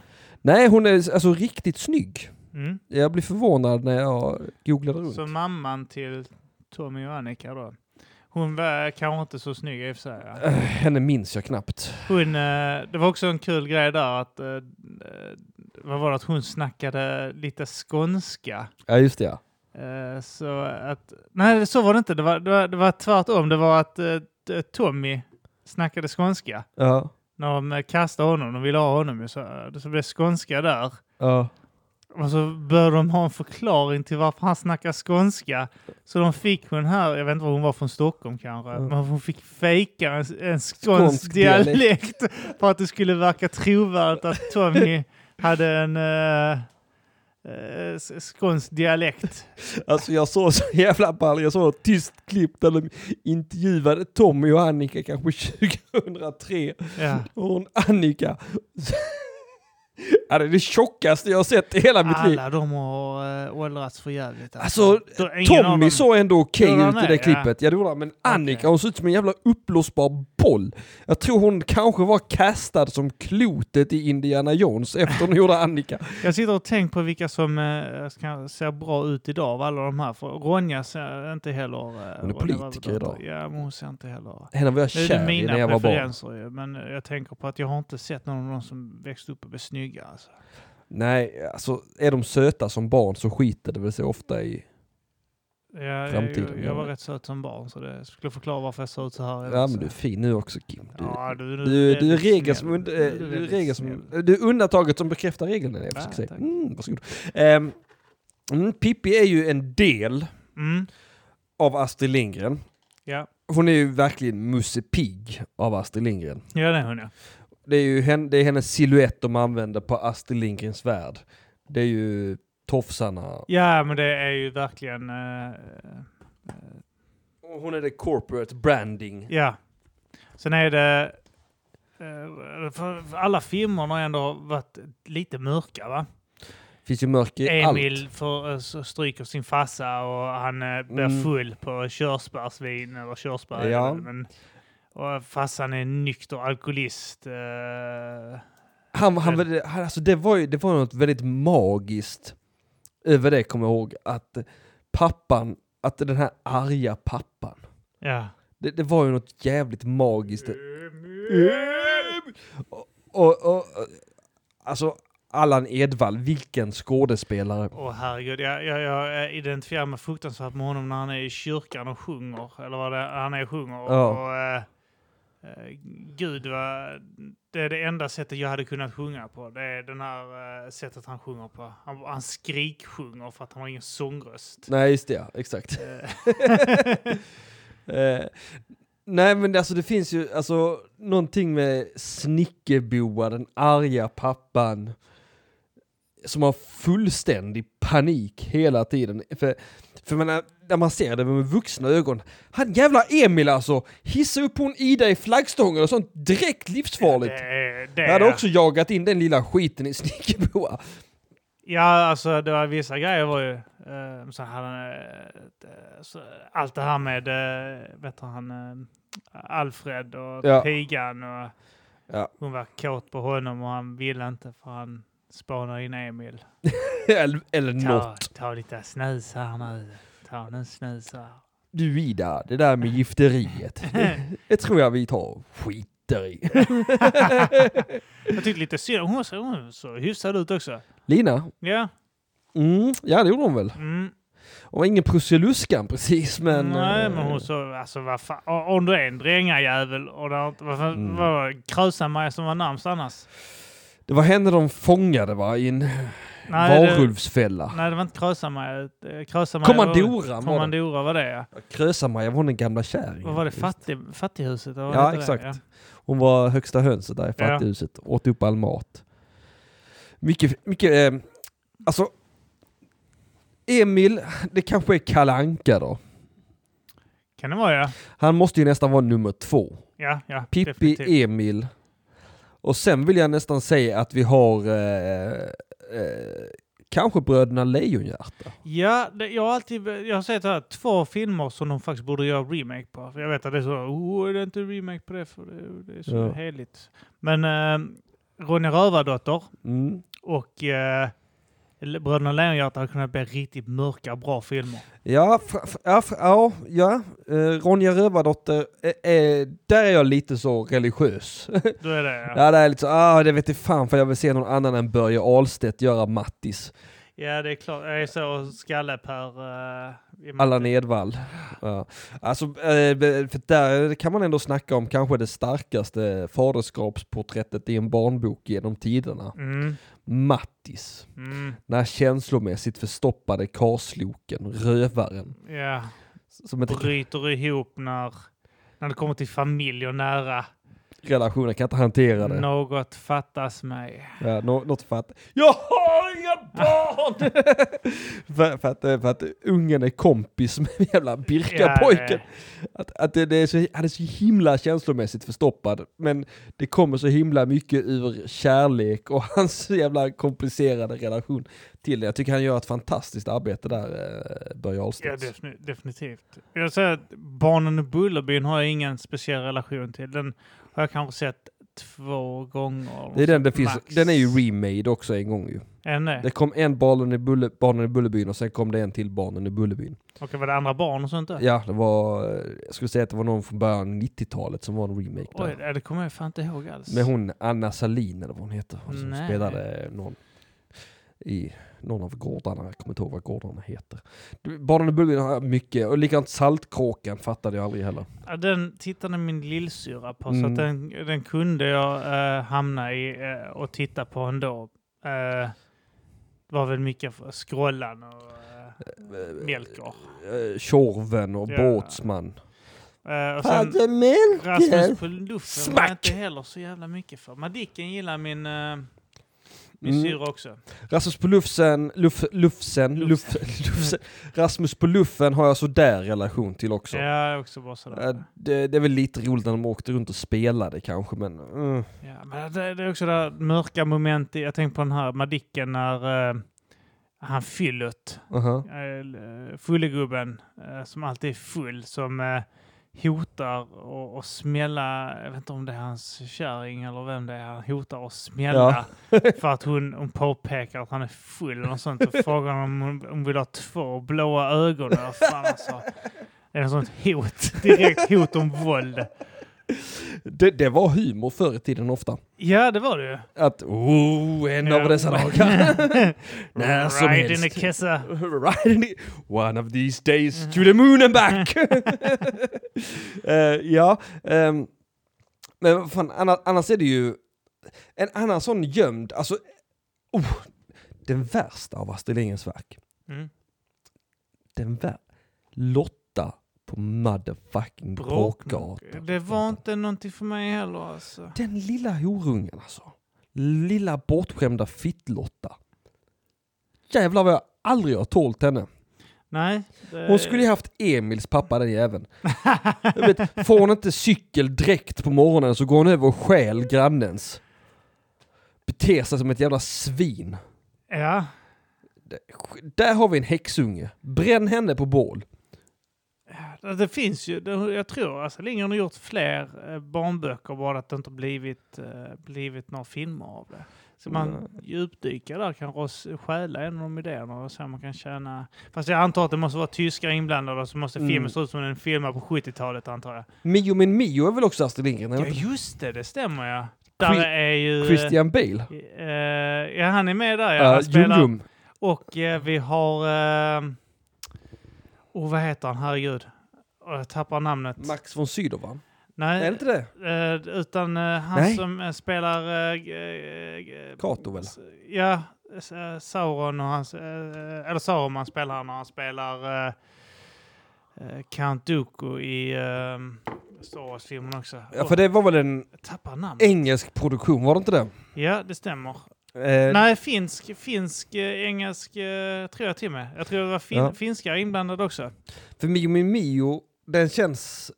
[SPEAKER 2] Nej, hon är alltså riktigt snygg.
[SPEAKER 4] Mm.
[SPEAKER 2] Jag blev förvånad när jag googlade runt.
[SPEAKER 4] Så mamman till Tommy och Annika då. Hon var kanske inte så snygg i och för sig. ja.
[SPEAKER 2] Eh, Henne minns jag knappt.
[SPEAKER 4] Hon, eh, det var också en kul grej där att, eh, eh, vad var det, att hon snackade lite skånska.
[SPEAKER 2] Ja, just det ja.
[SPEAKER 4] Eh, så att, nej så var det inte, det var, det var, det var tvärtom. Det var att eh, t- Tommy snackade skånska.
[SPEAKER 2] Ja.
[SPEAKER 4] När de eh, kastade honom, de ville ha honom ju, så, så blev det skånska där.
[SPEAKER 2] ja.
[SPEAKER 4] Och så började de ha en förklaring till varför han snackar skånska. Så de fick hon här, jag vet inte var hon var från Stockholm kanske,
[SPEAKER 2] Mm.
[SPEAKER 4] men hon fick fejka en, en skånsk,
[SPEAKER 2] Skånsk dialekt.
[SPEAKER 4] dialekt. för att det skulle verka trovärdigt att Tommy hade en eh, eh, s- skånsk dialekt.
[SPEAKER 2] Alltså jag såg så jävla ball, jag såg ett tyst klipp där de intervjuade Tommy och Annika kanske 2003.
[SPEAKER 4] Ja.
[SPEAKER 2] Och hon Annika. Ja, det är det tjockaste jag har sett i hela mitt liv.
[SPEAKER 4] Alla de har eh, åldrats för jävligt.
[SPEAKER 2] Alltså,
[SPEAKER 4] Då är ingen av dem-
[SPEAKER 2] Tommy såg ändå okej
[SPEAKER 4] Gjorde han
[SPEAKER 2] ut i
[SPEAKER 4] det?
[SPEAKER 2] det
[SPEAKER 4] Ja.
[SPEAKER 2] klippet. Ja, det gjorde han. Men Annika, hon såg ut som en jävla uppblåsbar boll. Jag tror hon kanske var kastad som klotet i Indiana Jones efter hon gjorde Annika.
[SPEAKER 4] Jag sitter och tänker på vilka som eh, ska- ser bra ut idag av alla de här. För Ronja ser inte heller... eh,
[SPEAKER 2] är
[SPEAKER 4] Ronja var
[SPEAKER 2] politiker
[SPEAKER 4] väl
[SPEAKER 2] idag.
[SPEAKER 4] Ja, men hon ser inte heller...
[SPEAKER 2] Henne var jag
[SPEAKER 4] Nu är det
[SPEAKER 2] kär i
[SPEAKER 4] mina
[SPEAKER 2] när jag var barn.
[SPEAKER 4] preferenser ju, men eh, jag tänker på att jag har inte sett någon av dem som växte upp och blev snygga. Alltså.
[SPEAKER 2] Nej, alltså är de söta som barn så skiter det väl sig ofta i...
[SPEAKER 4] Jag, jag,
[SPEAKER 2] Framtiden,
[SPEAKER 4] jag
[SPEAKER 2] ja.
[SPEAKER 4] var rätt söt som barn, så det skulle förklara varför jag såg ut så här.
[SPEAKER 2] Ja men du är fin nu också Kim. Du,
[SPEAKER 4] Ja, du, du,
[SPEAKER 2] du,
[SPEAKER 4] är
[SPEAKER 2] du är
[SPEAKER 4] väldigt
[SPEAKER 2] regeln som,
[SPEAKER 4] snäll.
[SPEAKER 2] und- eh,
[SPEAKER 4] är
[SPEAKER 2] du är
[SPEAKER 4] väldigt
[SPEAKER 2] regeln
[SPEAKER 4] snäll.
[SPEAKER 2] som, du är undantaget som bekräftar regeln. är det Jag
[SPEAKER 4] Ja,
[SPEAKER 2] försöker säga.
[SPEAKER 4] tack.
[SPEAKER 2] Mm, varsågod. Ehm, mm, Pippi är ju en del
[SPEAKER 4] Mm,
[SPEAKER 2] av Astrid Lindgren.
[SPEAKER 4] ja.
[SPEAKER 2] Hon är ju verkligen Musse Pigg av Astrid Lindgren.
[SPEAKER 4] ja, det är hon ja.
[SPEAKER 2] Det är ju hen, det är hennes silhuett de använder på Astrid Lindgrens värld. Det är ju tofsarna.
[SPEAKER 4] Ja, men det är ju verkligen... eh,
[SPEAKER 2] Och Hon är det corporate branding.
[SPEAKER 4] ja. Sen är det... eh, för, för alla filmerna har ändå varit lite mörka, va?
[SPEAKER 2] Finns ju mörker i allt.
[SPEAKER 4] Emil får eh, så stryk av sin farsa och han eh, blir
[SPEAKER 2] Mm.
[SPEAKER 4] full på körsbärsvin eller körsbär.
[SPEAKER 2] Ja.
[SPEAKER 4] eller- Men, och farsan är nykter alkoholist. eh,
[SPEAKER 2] Han, han, var- han, alltså det, var ju, det var något väldigt magiskt över det, kommer jag ihåg. Att pappan, att den här arga pappan.
[SPEAKER 4] ja.
[SPEAKER 2] Det, det var ju något jävligt magiskt.
[SPEAKER 4] Mm.
[SPEAKER 2] Och, och, och, alltså, Allan Edwall, vilken skådespelare.
[SPEAKER 4] Åh herregud, jag, jag, jag identifierar mig fruktansvärt med honom när han är i kyrkan och sjunger. Eller vad det är, han är och sjunger.
[SPEAKER 2] Ja.
[SPEAKER 4] Och, eh, eh, gud, vad, det är det enda sättet jag hade kunnat sjunga på. Det är den här eh, sättet han sjunger på. Han, han skriksjunger för att han har ingen sångröst.
[SPEAKER 2] Nej, just det, ja, exakt.
[SPEAKER 4] Eh,
[SPEAKER 2] Eh, nej, men det- alltså det finns ju alltså, någonting med Snickerboa, den arga pappan, som har fullständig panik hela tiden. För, för man är, när man ser det med vuxna ögon, han jävla Emil alltså, hissa upp hon Ida i flaggstången och sånt direkt livsfarligt.
[SPEAKER 4] Det, är- det,
[SPEAKER 2] Jag hade
[SPEAKER 4] är-
[SPEAKER 2] också jagat in den lilla skiten i Snickerboa.
[SPEAKER 4] Ja, alltså det var vissa grejer var ju... Eh, så hade han, eh, så, allt det här med, eh, vet du han, eh, Alfred och
[SPEAKER 2] Ja.
[SPEAKER 4] pigan och
[SPEAKER 2] Ja.
[SPEAKER 4] hon var kåt på honom och han ville inte för han spanade in Emil.
[SPEAKER 2] eller eller
[SPEAKER 4] Ta,
[SPEAKER 2] något.
[SPEAKER 4] ta lite snus här nu. Ta nu snus här.
[SPEAKER 2] Du Ida, det där med gifteriet, det tror jag vi tar skit skiter i.
[SPEAKER 4] Jag tyckte lite synd om hon. så- Hon såg hyfsad ut också.
[SPEAKER 2] Lina?
[SPEAKER 4] Ja.
[SPEAKER 2] Mm, ja, det gjorde hon väl.
[SPEAKER 4] Mm.
[SPEAKER 2] Hon var ingen Prussiluskan precis, men...
[SPEAKER 4] Nej,
[SPEAKER 2] eh,
[SPEAKER 4] men hon såg... Alltså vad fan. o- Om du är en drängajävel och det har inte... Vad fan
[SPEAKER 2] Mm.
[SPEAKER 4] var det Krösa-Maja som var närmst annars?
[SPEAKER 2] Det var henne de fångade, va? I en
[SPEAKER 4] det,
[SPEAKER 2] varulvsfälla.
[SPEAKER 4] nej, det var inte Krösa-Maja. Eh, Krösa-Maja var-
[SPEAKER 2] Kommandoran var det.
[SPEAKER 4] Kommandora var det ja.
[SPEAKER 2] Krösa-Maja var hon den gamla kärringen.
[SPEAKER 4] Vad var det?
[SPEAKER 2] Just.
[SPEAKER 4] Fattig, fattighuset? eller vad
[SPEAKER 2] Ja,
[SPEAKER 4] hette det?
[SPEAKER 2] exakt. Hon var högsta hönset där i
[SPEAKER 4] Ja.
[SPEAKER 2] fattighuset. Åt upp all mat. Mycket, mycket, eh, alltså. Emil, det kanske är Kalanka då.
[SPEAKER 4] Kan det vara ja.
[SPEAKER 2] Han måste ju nästan vara nummer två.
[SPEAKER 4] Ja, ja.
[SPEAKER 2] Pippi, E.
[SPEAKER 4] definitivt.
[SPEAKER 2] Emil. Och sen vill jag nästan säga att vi har eh, eh, kanske Bröderna Lejonhjärta.
[SPEAKER 4] Ja, det, jag har alltid jag har sett här, två filmer som de faktiskt borde göra remake på. För Jag vet att det är så, oh, är det inte remake på det för det, det är så
[SPEAKER 2] Ja.
[SPEAKER 4] heligt. Men eh, Ronja Rövardotter
[SPEAKER 2] Mm.
[SPEAKER 4] och eh, Bröderna Lejonhjärta hade kunnat bli riktigt mörka, bra filmer.
[SPEAKER 2] Ja, fra- fra- ja, fra- ja, ja. Eh, Ronja Rövardotter, eh, eh, där är jag lite så religiös.
[SPEAKER 4] Då är det, ja.
[SPEAKER 2] Ja, det är lite så, ah, det vet jag fan för jag vill se någon annan än Börje Ahlstedt göra Mattis.
[SPEAKER 4] ja, det är klart. Jag är så skalle per... Eh, i
[SPEAKER 2] Allan
[SPEAKER 4] matte.
[SPEAKER 2] Edwall. Ja. Alltså, eh, för där kan man ändå snacka om kanske det starkaste faderskapsporträttet i en barnbok genom tiderna.
[SPEAKER 4] Mm,
[SPEAKER 2] Mattis.
[SPEAKER 4] mm,
[SPEAKER 2] När känslomässigt förstoppade karsloken, rövaren.
[SPEAKER 4] ja.
[SPEAKER 2] Som inte
[SPEAKER 4] Bryter ihop när, när det kommer till familj och nära.
[SPEAKER 2] relationen kan inte hantera det.
[SPEAKER 4] Något fattas mig.
[SPEAKER 2] Ja, nå- något för att jag har inga barn! för, för, att, eh, för att ungen är kompis med den jävla Birka-pojken. Att, att det, det är så, han är så himla känslomässigt förstoppad, men det kommer så himla mycket ur kärlek och hans jävla komplicerade relation till det. Jag tycker han gör ett fantastiskt arbete där, eh, Börje
[SPEAKER 4] Ja,
[SPEAKER 2] Ahlstedt.
[SPEAKER 4] defini- definitivt. Jag säger att Barnen och Bullerbyn har jag ingen speciell relation till. Den har jag kanske sett två gånger.
[SPEAKER 2] det är den, det finns,
[SPEAKER 4] Max.
[SPEAKER 2] den är ju remade också en gång ju.
[SPEAKER 4] Ännu?
[SPEAKER 2] Det kom en Barnen i, Bulle, barnen i Bullerbyn och sen kom det en till Barnen i Bullerbyn.
[SPEAKER 4] Och var det andra barn och sånt där?
[SPEAKER 2] Ja, det var, eh, jag skulle säga att det var någon från början av 90-talet som var en remake
[SPEAKER 4] Oj,
[SPEAKER 2] där.
[SPEAKER 4] ja, det kommer jag fan inte ihåg alls.
[SPEAKER 2] Med hon Anna Salin eller vad hon heter, hon som
[SPEAKER 4] Nej.
[SPEAKER 2] spelade någon i någon av gårdarna, jag kommer inte ihåg vad gårdarna heter. Du, Barnen i Bullerbyn har jag mycket, och likadant Saltkråkan fattade jag aldrig heller.
[SPEAKER 4] Ja, Den tittade min lillsyrra på, så
[SPEAKER 2] Mm.
[SPEAKER 4] att den, den kunde jag eh, hamna i eh, och titta på ändå. Eh, det var väl mycket för Skrållan och uh, Melker.
[SPEAKER 2] Eh, Tjorven och
[SPEAKER 4] Ja.
[SPEAKER 2] Båtsman.
[SPEAKER 4] Eh, och sen-
[SPEAKER 2] Fader Melker!
[SPEAKER 4] Rasmus på luften var
[SPEAKER 2] Smack!
[SPEAKER 4] jag inte heller så jävla mycket för. Madicken gillar min, eh, min
[SPEAKER 2] Mm.
[SPEAKER 4] syrra också.
[SPEAKER 2] Rasmus på Lufsen, Luf, Lufsen, Luf, Lufsen. Rasmus på Luffen har jag sådär relation till också.
[SPEAKER 4] Ja, jag är också bara sådär.
[SPEAKER 2] Eh, Det, det är väl lite roligt när de åkte runt och spelade kanske, men... Mm.
[SPEAKER 4] Ja, men det, det är också det här mörka moment i, jag tänker på den här Madicken när eh, han fyllet,
[SPEAKER 2] aha.
[SPEAKER 4] uh, fullegubben eh, som alltid är full, som eh, hotar och, och smälla, jag vet inte om det är hans kärring eller vem det är, han hotar och smälla för att hon, hon påpekar att han är full och sånt och frågar om hon, hon vill ha två blåa ögon. Eller fan alltså. Det är ett sånt hot, direkt hot om våld.
[SPEAKER 2] Det, det var humor förr i tiden ofta.
[SPEAKER 4] Ja, det var det ju.
[SPEAKER 2] Att oh, en av
[SPEAKER 4] Ja.
[SPEAKER 2] dessa dagar. När som
[SPEAKER 4] Ride in a
[SPEAKER 2] helst.
[SPEAKER 4] kissa.
[SPEAKER 2] right in the, one of these days to the moon and back. Eh, ja, ehm, men vad fan, annars, annars är det ju en annan sån gömd, alltså, oh, den värsta av Astrid Lindgrens verk.
[SPEAKER 4] Mm.
[SPEAKER 2] Den värsta. Lotta på motherfucking Bråkgatan.
[SPEAKER 4] Det var inte någonting för mig heller alltså.
[SPEAKER 2] Den lilla horungen alltså. Lilla bortskämda fittlotta. Jävlar vad jag aldrig har tålt henne.
[SPEAKER 4] Nej. det-
[SPEAKER 2] Hon skulle ju haft Emils pappa den jäveln. Jag vet, får hon inte cykel direkt på morgonen så går hon över och stjäl grannens. Beter sig som ett jävla svin.
[SPEAKER 4] Ja.
[SPEAKER 2] Där har vi en häxunge. Bränn henne på bål.
[SPEAKER 4] Ja, Det finns ju, det, jag tror alltså Lindgren har gjort fler eh, barnböcker bara att det inte blivit, eh, blivit några filmer av det. Så man
[SPEAKER 2] Mm.
[SPEAKER 4] djupdyka där kanske och s- stjäla en av de idéerna och se om man kan tjäna... Fast jag antar att det måste vara tyskar inblandade och så måste filmen
[SPEAKER 2] Mm.
[SPEAKER 4] se ut som den filmar på 70-talet antar jag.
[SPEAKER 2] Mio min Mio är väl också Astrid Lindgren?
[SPEAKER 4] Ja
[SPEAKER 2] eller?
[SPEAKER 4] just det, det stämmer ja. Där är ju...
[SPEAKER 2] Christian Bale?
[SPEAKER 4] eh, ja han är med där ja.
[SPEAKER 2] Ja,
[SPEAKER 4] han spelar.
[SPEAKER 2] Jum-Jum.
[SPEAKER 4] Och eh, vi har... Uh, och vad heter han? Herregud. Och jag tappar namnet.
[SPEAKER 2] Max von Sydow va?
[SPEAKER 4] Nej,
[SPEAKER 2] Är det inte det?
[SPEAKER 4] eh, utan eh, han
[SPEAKER 2] Nej.
[SPEAKER 4] som eh, spelar... eh, g- eh, g-
[SPEAKER 2] Kato väl?
[SPEAKER 4] S- Ja, s- eh, Sauron och hans... eh, Eller Sauron spelar han och han spelar eh, eh, Count Dooku i eh, Star Wars-filmen också.
[SPEAKER 2] Ja,
[SPEAKER 4] Och
[SPEAKER 2] för det var väl en
[SPEAKER 4] jag tappar namn.
[SPEAKER 2] engelsk produktion, var det inte det?
[SPEAKER 4] Ja, det stämmer.
[SPEAKER 2] Eh,
[SPEAKER 4] Nej, finsk, finsk, eh, engelsk eh, tror jag till och med. Jag tror det var fin-
[SPEAKER 2] Ja.
[SPEAKER 4] finskar inblandade också.
[SPEAKER 2] För Mio min Mio, den känns,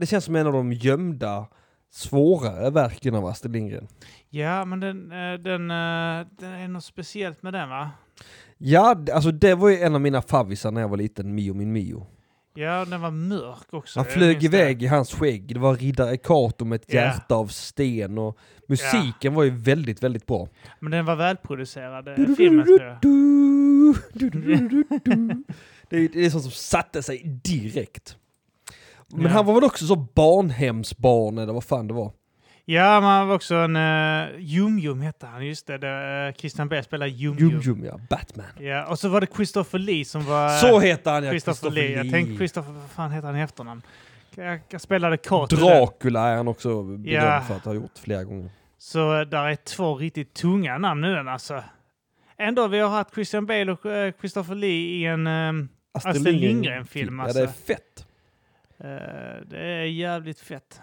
[SPEAKER 2] det känns som en av de gömda, svårare verken av Astrid Lindgren.
[SPEAKER 4] Ja, men den, eh, den, eh, den är något speciellt med den va?
[SPEAKER 2] Ja, d- alltså det var ju en av mina favvisar när jag var liten, Mio min Mio.
[SPEAKER 4] Ja, den var mörk också.
[SPEAKER 2] Han
[SPEAKER 4] Jag
[SPEAKER 2] flög
[SPEAKER 4] minns det.
[SPEAKER 2] iväg i hans skägg, det var riddare Kato med ett
[SPEAKER 4] Ja.
[SPEAKER 2] hjärta av sten och musiken var ju väldigt, väldigt bra.
[SPEAKER 4] Men den var välproducerad, eh, filmen tror jag.
[SPEAKER 2] Du, du, du, du, du. Det är, det är sånt som satte sig direkt. Men
[SPEAKER 4] Ja.
[SPEAKER 2] han var väl också så barnhemsbarn eller vad fan det var.
[SPEAKER 4] Ja, men han var också en... eh, Jum-Jum hette han, just det. det eh, Christian Bale spelade Jum-Jum.
[SPEAKER 2] Jum-Jum ja, Batman.
[SPEAKER 4] Ja, och så var det Christopher Lee som var... eh,
[SPEAKER 2] Så heter han ja,
[SPEAKER 4] Christopher Lee. Jag tänkte Christopher... Vad fan heter han i efternamn? Jag, jag spelade kort.
[SPEAKER 2] Dracula är han också berömd
[SPEAKER 4] Ja.
[SPEAKER 2] för att ha gjort flera gånger.
[SPEAKER 4] Så eh, där är två riktigt tunga namn nu den alltså. Ändå, vi har haft Christian Bale och eh, Christopher Lee i en... ehm, Astrid Lindgren-film,
[SPEAKER 2] Ja, det är
[SPEAKER 4] alltså.
[SPEAKER 2] fett.
[SPEAKER 4] eh, det är jävligt fett.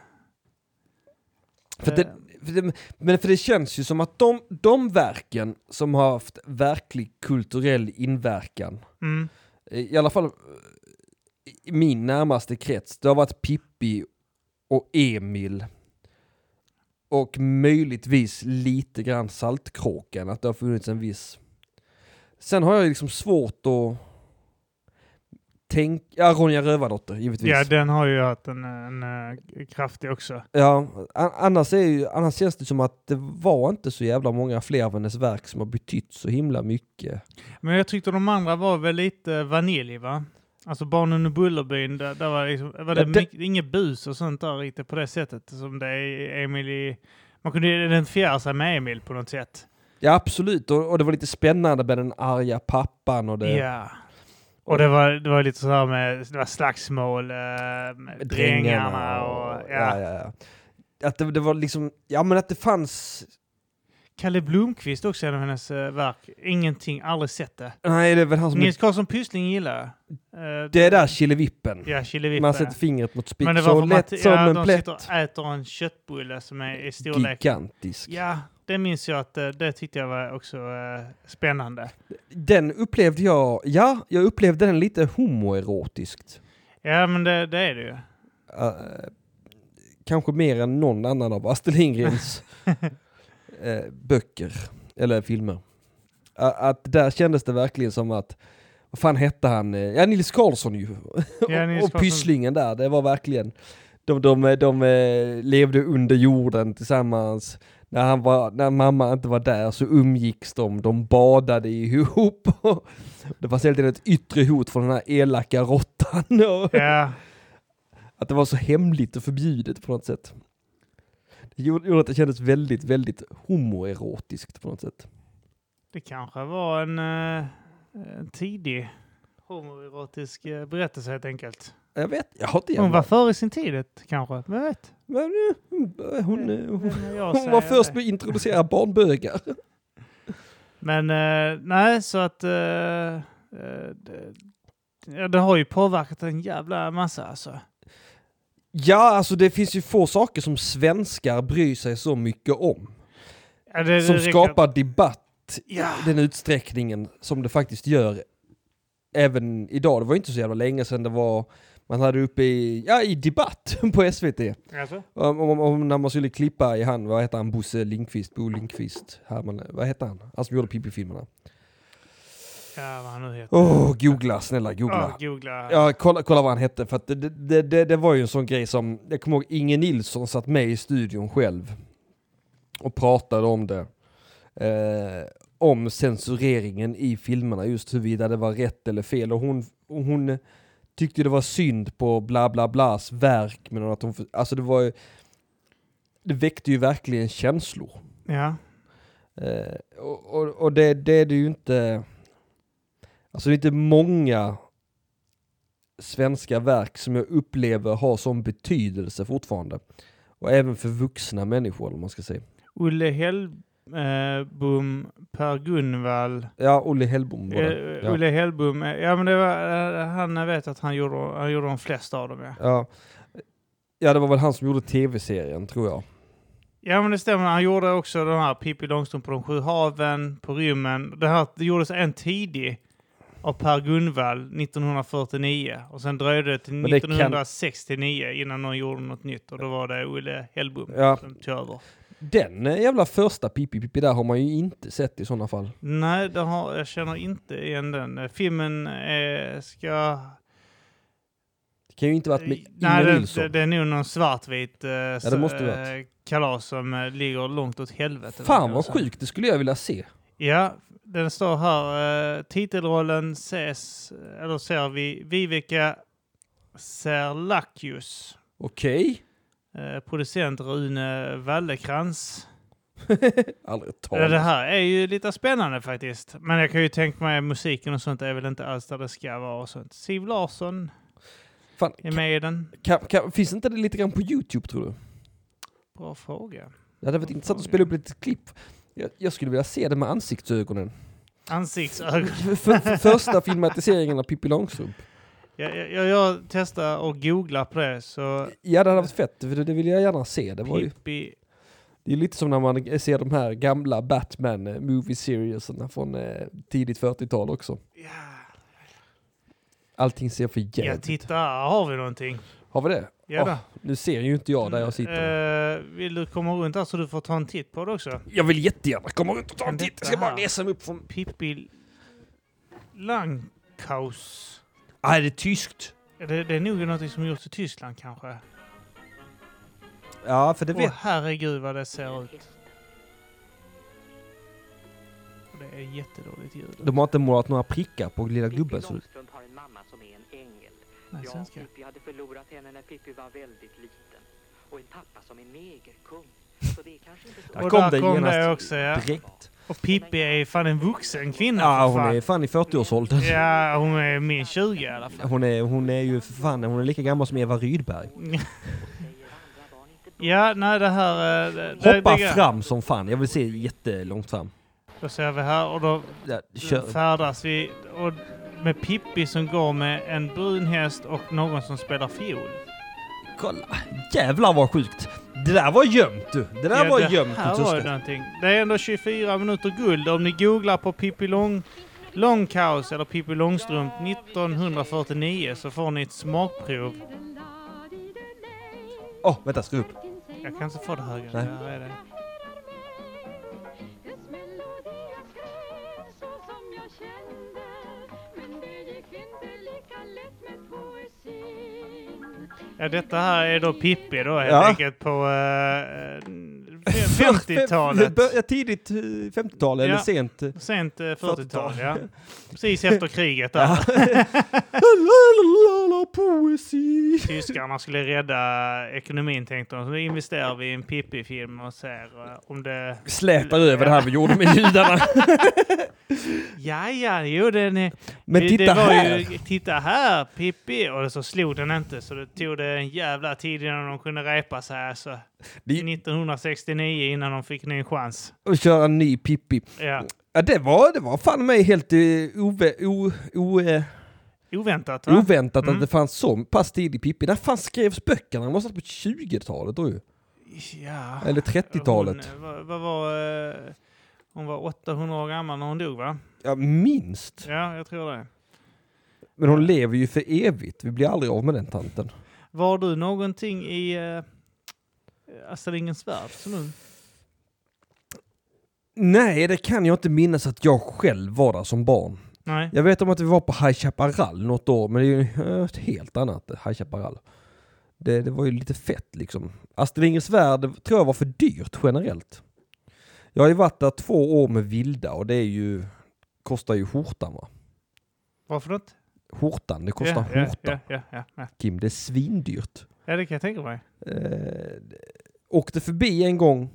[SPEAKER 2] För
[SPEAKER 4] Eh,
[SPEAKER 2] det, för det, men för det känns ju som att de, de verken som har haft verklig kulturell inverkan
[SPEAKER 4] Mm.
[SPEAKER 2] i alla fall eh, i min närmaste krets, det har varit Pippi och Emil. Och möjligtvis lite grann Saltkråkan, att det har funnits en viss... Sen har jag liksom svårt att tänka... Ja, Ronja Rövardotter, givetvis.
[SPEAKER 4] Ja, den har ju haft en, en, eh, kraftig också.
[SPEAKER 2] Ja, a- annars, är ju, annars känns det som att det var inte så jävla många fler av hennes verk som har betytt så himla mycket.
[SPEAKER 4] Men jag tyckte de andra var väl lite vanilj, va? Alltså Barnen och Bullerbyn, där, där var, liksom, var det,
[SPEAKER 2] Ja, det-
[SPEAKER 4] mycket- inget bus och sånt där riktigt på det sättet som det är i Emil i... Man kunde identifiera sig med Emil på något sätt.
[SPEAKER 2] Ja, absolut. Och, och det var lite spännande med den arga pappan och det...
[SPEAKER 4] Ja. Och det var, det var lite så här med det var slagsmål, eh, med drängarna och... Ja.
[SPEAKER 2] ja, ja, ja. Att det, det var liksom, ja men att det fanns,
[SPEAKER 4] Kalle Blomqvist också, en av hennes eh, verk. Ingenting, aldrig sett det.
[SPEAKER 2] nej det är väl han som,
[SPEAKER 4] Nils Karlsson Pyssling gillar jag. Eh,
[SPEAKER 2] det är där Killevippen.
[SPEAKER 4] Ja, Killevippe.
[SPEAKER 2] Man sätter fingret mot spik
[SPEAKER 4] Men det var
[SPEAKER 2] så
[SPEAKER 4] för att
[SPEAKER 2] lätt som
[SPEAKER 4] ja,
[SPEAKER 2] en
[SPEAKER 4] de
[SPEAKER 2] plätt.
[SPEAKER 4] sitter och äter en köttbulle som är i storlek.
[SPEAKER 2] Gigantisk.
[SPEAKER 4] Ja, det minns jag att eh, det tyckte jag var också eh, spännande.
[SPEAKER 2] Den upplevde jag, ja, jag upplevde den lite homoerotiskt.
[SPEAKER 4] Ja, men det, det är det ju.
[SPEAKER 2] Eh, kanske mer än någon annan av Astrid Lindgrens eh, böcker eller filmer. A- att där kändes det verkligen som att, vad fan hette han, Eh, ja Nils Karlsson ju.
[SPEAKER 4] Ja, Nils
[SPEAKER 2] och
[SPEAKER 4] Karlsson.
[SPEAKER 2] Pysslingen där, det var verkligen, de, de, de eh, levde under jorden tillsammans. När, han var, när mamma inte var där så umgicks de, de badade ihop. det fanns hela tiden ett yttre hot från den här elaka råttan. Och-
[SPEAKER 4] Ja,
[SPEAKER 2] att det var så hemligt och förbjudet på något sätt. Det gjorde gjorde att det kändes väldigt, väldigt homoerotiskt på något sätt.
[SPEAKER 4] det kanske var en, eh, en tidig homoerotisk eh, berättelse helt enkelt.
[SPEAKER 2] Jag vet, jag har inte
[SPEAKER 4] Hon var
[SPEAKER 2] jävla...
[SPEAKER 4] före sin tid ett, kanske. Vem vet?
[SPEAKER 2] Men, eh, hon, eh, hon, eh, hon,
[SPEAKER 4] Vem är jag att
[SPEAKER 2] hon var
[SPEAKER 4] säga
[SPEAKER 2] först
[SPEAKER 4] det?
[SPEAKER 2] med att introducera barnbögar.
[SPEAKER 4] Men eh, nej, så att eh, eh, det, ja, det har ju påverkat en jävla massa alltså.
[SPEAKER 2] Ja, alltså det finns ju få saker som svenskar bryr sig så mycket om.
[SPEAKER 4] Ja, det,
[SPEAKER 2] Som
[SPEAKER 4] det räcker-
[SPEAKER 2] skapar debatt i
[SPEAKER 4] Ja.
[SPEAKER 2] den utsträckningen som det faktiskt gör även idag. Det var ju inte så jävla länge sedan det var, man hade uppe i, ja, i debatt på SVT.
[SPEAKER 4] Alltså?
[SPEAKER 2] Om, om, om när man skulle klippa i han, vad heter han, Bosse Lindqvist, Bo Lindqvist, Herman, vad heter han? Han som gjorde Pippi-filmerna.
[SPEAKER 4] Ja, vad han nu heter.
[SPEAKER 2] Åh, googla, snälla googla.
[SPEAKER 4] Ja, googla.
[SPEAKER 2] Ja, kolla, kolla vad han hette, för att det, det, det, det var ju en sån grej som, jag kommer ihåg Inge Nilsson satt med i studion själv och pratade om det. eh, om censureringen i filmerna, just huruvida det var rätt eller fel. Och hon, och hon tyckte det var synd på bla bla blas verk, men att hon, alltså det var ju, det väckte ju verkligen känslor.
[SPEAKER 4] Ja.
[SPEAKER 2] Eh, och och, och det, det är det ju inte, alltså det är inte många svenska verk som jag upplever har sån betydelse fortfarande. Och även för vuxna människor om man ska säga.
[SPEAKER 4] Olle Hellbom, Per Gunvall.
[SPEAKER 2] Ja, Olle Hellbom var det.
[SPEAKER 4] Eh,
[SPEAKER 2] ja.
[SPEAKER 4] Olle Hellbom, eh, ja men det var, eh, han jag vet att han gjorde, han gjorde de flesta av dem ja.
[SPEAKER 2] Ja. ja, det var väl han som gjorde tv-serien tror jag.
[SPEAKER 4] Ja men det stämmer, han gjorde också den här Pippi Långstrump på de sju haven, på rymmen. Det här det gjordes en tidig av Per Gunvall 1949 och sen dröjde det till
[SPEAKER 2] Men det kan-
[SPEAKER 4] 1969 innan någon gjorde något nytt och då var det Olle Hellbom
[SPEAKER 2] Ja.
[SPEAKER 4] som tog över.
[SPEAKER 2] Den eh, jävla första Pippi Pippi där har man ju inte sett i sådana fall.
[SPEAKER 4] Nej, det har, jag känner inte igen den. Eh, Filmen eh, ska... Eh,
[SPEAKER 2] Det kan ju inte varit med
[SPEAKER 4] Nej,
[SPEAKER 2] Inger
[SPEAKER 4] det,
[SPEAKER 2] Nilsson.
[SPEAKER 4] det, det är nog någon svartvit eh, s-
[SPEAKER 2] måste det varit.
[SPEAKER 4] eh, kalas som eh, ligger långt åt helvete.
[SPEAKER 2] Fan
[SPEAKER 4] verkar det
[SPEAKER 2] vad
[SPEAKER 4] som.
[SPEAKER 2] sjukt, det skulle jag vilja se.
[SPEAKER 4] Ja, den står här. Eh, titelrollen ses, eller ser vi, Vivica Serlakius.
[SPEAKER 2] Okej?
[SPEAKER 4] Eh, producent Rune Wallekrans.
[SPEAKER 2] Aldrig
[SPEAKER 4] Ja, det
[SPEAKER 2] talat.
[SPEAKER 4] här är ju lite spännande faktiskt. Men jag kan ju tänka mig musiken och sånt är väl inte alls där det ska vara och sånt. Siv Larsson
[SPEAKER 2] Fan,
[SPEAKER 4] är med i den.
[SPEAKER 2] kan, kan, finns inte det lite grann på YouTube tror du?
[SPEAKER 4] Bra fråga.
[SPEAKER 2] Det hade varit intressant att spela upp lite klipp. Jag, jag skulle vilja se det med ansiktsögonen.
[SPEAKER 4] Ansiktsögon.
[SPEAKER 2] För, för första filmatiseringen av Pippi Långstrump.
[SPEAKER 4] Jag, jag, jag, jag testar och googlar på det så
[SPEAKER 2] Ja, det hade varit fett, för det, det vill jag gärna se. Det var ju...
[SPEAKER 4] Pippi...
[SPEAKER 2] Det är lite som när man ser de här gamla Batman eh, movie serieserna från eh, tidigt 40-tal också.
[SPEAKER 4] Ja,
[SPEAKER 2] Allting ser för jävligt.
[SPEAKER 4] jag tittar, här har vi någonting?
[SPEAKER 2] Har vi det?
[SPEAKER 4] Ja, då.
[SPEAKER 2] Åh, nu ser ju inte jag där jag sitter.
[SPEAKER 4] Mm, Eh, vill du komma runt här så du får ta en titt på det också?
[SPEAKER 2] Jag vill jättegärna komma runt och ta en
[SPEAKER 4] Men
[SPEAKER 2] titt. Jag
[SPEAKER 4] detta
[SPEAKER 2] ska bara
[SPEAKER 4] här.
[SPEAKER 2] resa mig upp från...
[SPEAKER 4] Pippi Langkaus.
[SPEAKER 2] Ah, är det tyskt?
[SPEAKER 4] Är Det, det är nog något som gjorts i Tyskland kanske.
[SPEAKER 2] Ja, för det
[SPEAKER 4] Åh herregud vad det ser ut. Och Det är jättedåligt ljud.
[SPEAKER 2] De har inte målat några prickar på lilla
[SPEAKER 5] Pippi
[SPEAKER 2] gubben. Så...
[SPEAKER 5] Långstrump har en mamma som är en ängel.
[SPEAKER 4] Nej,
[SPEAKER 5] Ja,
[SPEAKER 4] svenska.
[SPEAKER 5] Pippi hade förlorat henne när Pippi var väldigt liten. Och en pappa som är negerkung. Så det är kanske inte så...
[SPEAKER 2] Där
[SPEAKER 4] Och
[SPEAKER 2] kom
[SPEAKER 4] där
[SPEAKER 2] det
[SPEAKER 4] kom
[SPEAKER 2] genast
[SPEAKER 4] det också ja.
[SPEAKER 2] Direkt.
[SPEAKER 4] Och Pippi är fan en vuxen kvinna.
[SPEAKER 2] Ja,
[SPEAKER 4] för
[SPEAKER 2] hon
[SPEAKER 4] fan.
[SPEAKER 2] är fan i 40-årsåldern.
[SPEAKER 4] Ja, hon är min 20 i alla fall.
[SPEAKER 2] Hon är, hon är ju för fan, hon är lika gammal som Eva Rydberg.
[SPEAKER 5] Säger andra barn inte bra.
[SPEAKER 4] Ja, nej det här... eh, Det, det,
[SPEAKER 2] Hoppa
[SPEAKER 4] det,
[SPEAKER 2] fram som fan, jag vill se jättelångt fram.
[SPEAKER 4] Då ser vi här och då
[SPEAKER 2] Ja, kör.
[SPEAKER 4] färdas vi och med Pippi som går med en brun häst och någon som spelar fiol.
[SPEAKER 2] Kolla, jävlar vad sjukt. Det där var gömt du. Det där var
[SPEAKER 4] det
[SPEAKER 2] gömt
[SPEAKER 4] här
[SPEAKER 2] du
[SPEAKER 4] var ju
[SPEAKER 2] Tuska.
[SPEAKER 4] någonting. Det är ändå 24 minuter guld om ni googlar på Pippi Lång, Långkaos eller Pippi Långstrump 1949 så får ni ett smakprov.
[SPEAKER 2] Åh, oh, vänta, skru upp.
[SPEAKER 4] Jag kan inte få det högre.
[SPEAKER 2] Nej.
[SPEAKER 4] Där är det. Ja, detta här är då Pippi då helt
[SPEAKER 2] Ja.
[SPEAKER 4] enkelt på eh, 50-talet.
[SPEAKER 2] Bör- ja, Tidigt eh, 50-tal eller
[SPEAKER 4] Ja.
[SPEAKER 2] sent. eh.
[SPEAKER 4] Sent eh, 40-tal,
[SPEAKER 2] 40-tal.
[SPEAKER 4] ja. Precis efter kriget där.
[SPEAKER 2] Lalalala, Poesi.
[SPEAKER 4] Tyskarna skulle rädda ekonomin tänkte de. Så nu investerar vi i en Pippi-film och ser eh, om det...
[SPEAKER 2] Vi slätar över det här vi gjorde med judarna.
[SPEAKER 4] Ja, ja, jo den är...
[SPEAKER 2] Men
[SPEAKER 4] det,
[SPEAKER 2] titta
[SPEAKER 4] det var
[SPEAKER 2] här.
[SPEAKER 4] Ju, titta här, Pippi! Och så slog den inte, så det tog det en jävla tid innan de kunde repa sig. Alltså.
[SPEAKER 2] Det-
[SPEAKER 4] 1969 innan de fick en ny chans.
[SPEAKER 2] Och köra en ny Pippi.
[SPEAKER 4] Ja.
[SPEAKER 2] Ja, det var, det var fan mig helt eh, ove, o, o, eh,
[SPEAKER 4] Oväntat, va?
[SPEAKER 2] oväntat
[SPEAKER 4] Mm.
[SPEAKER 2] att det fanns så pass tidig Pippi. När fan skrevs böckerna? Det måste ha varit på 20-talet då ju.
[SPEAKER 4] ja.
[SPEAKER 2] Eller 30-talet.
[SPEAKER 4] Hon, eh, vad, vad var... eh, Hon var 800 år gammal när hon dog, va?
[SPEAKER 2] Ja, minst.
[SPEAKER 4] Ja, jag tror det.
[SPEAKER 2] Men hon lever ju för evigt. Vi blir aldrig av med den tanten.
[SPEAKER 4] Var du någonting i uh, Astrid Lindgrens Värld som ung?
[SPEAKER 2] Nej, det kan jag inte minnas att jag själv var där som barn.
[SPEAKER 4] Nej.
[SPEAKER 2] Jag vet om att vi var på High Chaparral något år, men det är ju eh, ett helt annat High Chaparral. Det, det var ju lite fett liksom. Astrid Lindgrens Värld tror jag var för dyrt generellt. Jag har ju varit där två år med vilda och det är ju, kostar ju skjortan va?
[SPEAKER 4] Varför något?
[SPEAKER 2] Skjortan, det kostar
[SPEAKER 4] ja,
[SPEAKER 2] skjortan.
[SPEAKER 4] ja, ja, ja, ja, ja.
[SPEAKER 2] Kim, det är svindyrt.
[SPEAKER 4] ja, det kan jag tänka mig.
[SPEAKER 2] Eh, åkte förbi en gång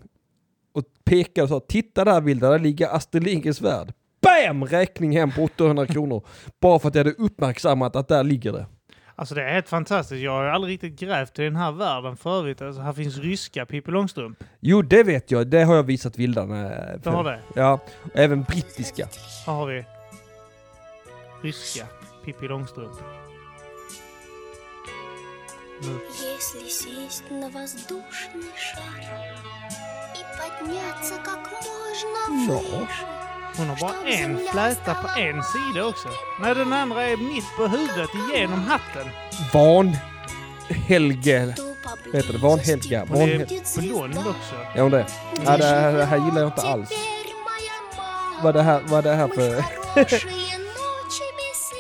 [SPEAKER 2] och pekade och sa titta där vilda, där ligger Astrid Lindgrens värld. Bam! Räkning hem på 800 kronor. Bara för att jag hade uppmärksammat att där ligger det.
[SPEAKER 4] Alltså det är helt fantastiskt. Jag har ju aldrig riktigt grävt i den här världen för övrigt. Alltså, här finns ryska Pippi Långstrump.
[SPEAKER 2] Jo, det vet jag. Det har jag visat vildarna.
[SPEAKER 4] Du har det?
[SPEAKER 2] Ja, och även brittiska.
[SPEAKER 4] Här har vi ryska Pippi Långstrump. Nu.
[SPEAKER 6] Если сесть на воздушный шар и подняться как можно
[SPEAKER 2] Ja.
[SPEAKER 6] выше.
[SPEAKER 4] Hon har bara en fläta på en sida också. Nej, den andra är mitt på huvudet igenom hatten.
[SPEAKER 2] Van Helge.
[SPEAKER 6] то
[SPEAKER 2] Heter det Van Helga?
[SPEAKER 4] Hon
[SPEAKER 2] Van
[SPEAKER 4] är
[SPEAKER 2] Helge.
[SPEAKER 4] blond också.
[SPEAKER 2] Är hon det? Ja, det, här, det här gillar jag inte alls. Vad är det här, vad är det här för...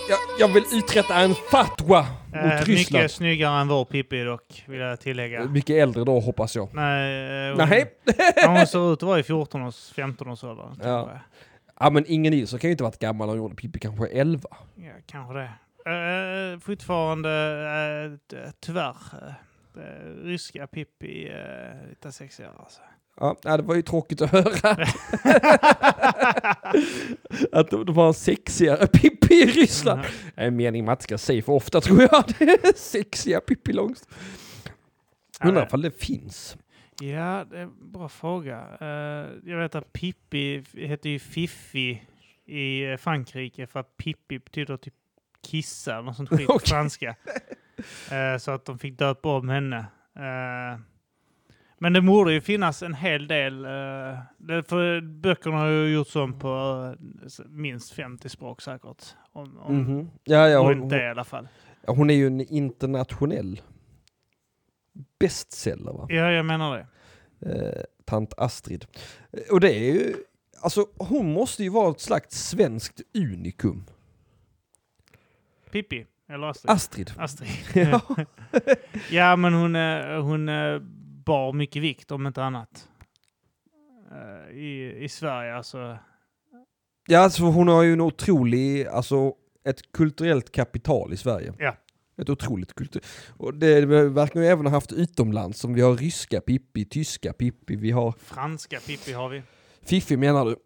[SPEAKER 2] Jag, jag vill uträtta en fatwa
[SPEAKER 4] Eh,
[SPEAKER 2] mot Ryssland. Mm.
[SPEAKER 4] mycket snyggare än vår Pippi dock, vill jag tillägga.
[SPEAKER 2] Mycket äldre då hoppas jag.
[SPEAKER 4] Nej, eh, hon,
[SPEAKER 2] Nej,
[SPEAKER 4] ja, hon ser ut att vara i 14-års, 15-årsåldern.
[SPEAKER 2] Ja.
[SPEAKER 4] Ja.
[SPEAKER 2] ja, men ingen i så kan ju inte ha varit gammal när hon gjorde Pippi, kanske 11.
[SPEAKER 4] ja, kanske det. Eh, fortfarande, eh, t- tyvärr, eh, eh, ryska Pippi, eh, lite sexigare alltså.
[SPEAKER 2] Ja, nej, det var ju tråkigt att höra. att de, de har en sexigare Pippi i Ryssland.
[SPEAKER 4] Mm.
[SPEAKER 2] Det är en mening man inte ska säga för ofta tror jag. sexiga Pippi Långstrump. Undrar ifall det finns.
[SPEAKER 4] Ja, det är en bra fråga. Eh, jag vet att Pippi f- heter ju Fiffi i eh, Frankrike för att Pippi betyder typ kissa eller något sånt skit på
[SPEAKER 2] Okej.
[SPEAKER 4] franska. Eh, så att de fick döpa om henne. Eh, men det borde ju finnas en hel del, eh, det- för böckerna har ju gjorts om på eh, s- minst 50 språk säkert. Om, om,
[SPEAKER 2] Mhm. Ja, ja,
[SPEAKER 4] Runt
[SPEAKER 2] hon,
[SPEAKER 4] det i alla fall.
[SPEAKER 2] hon, hon är ju en internationell bestseller va?
[SPEAKER 4] Ja, jag menar det.
[SPEAKER 2] Eh, tant Astrid. Eh, Och det är ju, alltså hon måste ju vara ett slags svenskt unikum.
[SPEAKER 4] Pippi, eller Astrid.
[SPEAKER 2] Astrid.
[SPEAKER 4] Astrid.
[SPEAKER 2] Ja.
[SPEAKER 4] Ja, men hon, eh, hon eh, bar mycket vikt om inte annat. Eh, I, i Sverige alltså.
[SPEAKER 2] Ja, alltså hon har ju en otrolig, alltså ett kulturellt kapital i Sverige.
[SPEAKER 4] Ja.
[SPEAKER 2] Ett otroligt kultur. Och det verkar ju även ha haft utomlands som vi har ryska Pippi, tyska Pippi, vi har
[SPEAKER 4] Franska Pippi har vi.
[SPEAKER 2] Fiffi menar du?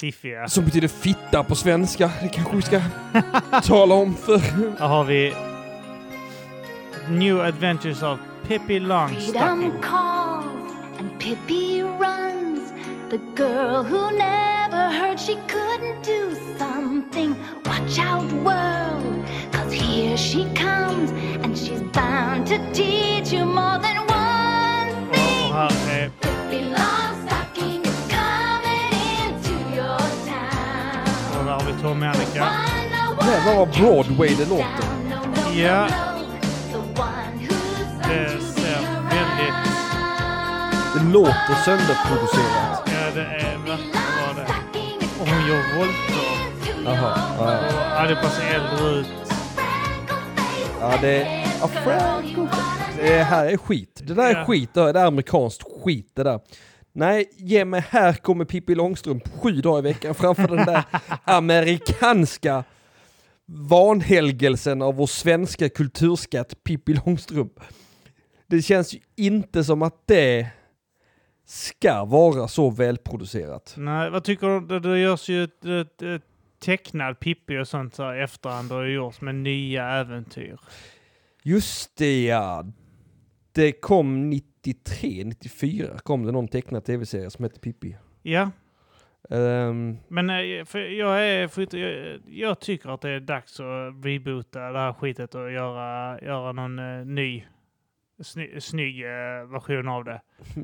[SPEAKER 4] Fiffiga.
[SPEAKER 2] Som betyder fitta på svenska. Det kanske vi ska tala om för...
[SPEAKER 4] Här har vi New Adventures of Pippi Longstocking.
[SPEAKER 7] Freedom calls and Pippi runs. The girl who never heard she couldn't do something. Watch out, world, cause here she comes and she's bound to teach you more than one
[SPEAKER 4] Och
[SPEAKER 7] thing.
[SPEAKER 4] här är
[SPEAKER 7] Pippi Longstocking is coming into your town.
[SPEAKER 4] och där har vi Tommy och Annika.
[SPEAKER 2] Jävlar vad Broadway det låter.
[SPEAKER 4] Ja.
[SPEAKER 7] Ja.
[SPEAKER 4] Det ser väldigt...
[SPEAKER 2] Det låter sönderproducerat.
[SPEAKER 4] Ja, det är verkligen bra det. Och hon gör volter.
[SPEAKER 2] Jaha. Ja,
[SPEAKER 4] Och ja, det bara ser äldre ut.
[SPEAKER 2] ja det... Ja, Franco. Det här är skit. Det där är
[SPEAKER 4] Ja.
[SPEAKER 2] skit. Det där är amerikanskt skit det där. Nej, ge mig här kommer Pippi Långstrump sju dagar i veckan framför den där amerikanska vanhelgelsen av vår svenska kulturskatt Pippi Långstrump. Det känns ju inte som att det ska vara så välproducerat.
[SPEAKER 4] Nej, vad tycker du? Det, det görs ju ett, ett, ett tecknad Pippi och sånt så här i efterhand har ju gjorts med nya äventyr.
[SPEAKER 2] Just det ja. Det kom 93, 94 kom det någon tecknad tv-serie som hette Pippi.
[SPEAKER 4] Ja,
[SPEAKER 2] Ehm,
[SPEAKER 4] men eh, för jag, är, för jag, jag tycker att det är dags att reboota det här skitet och göra, göra någon eh, ny sny, snygg eh, version av det.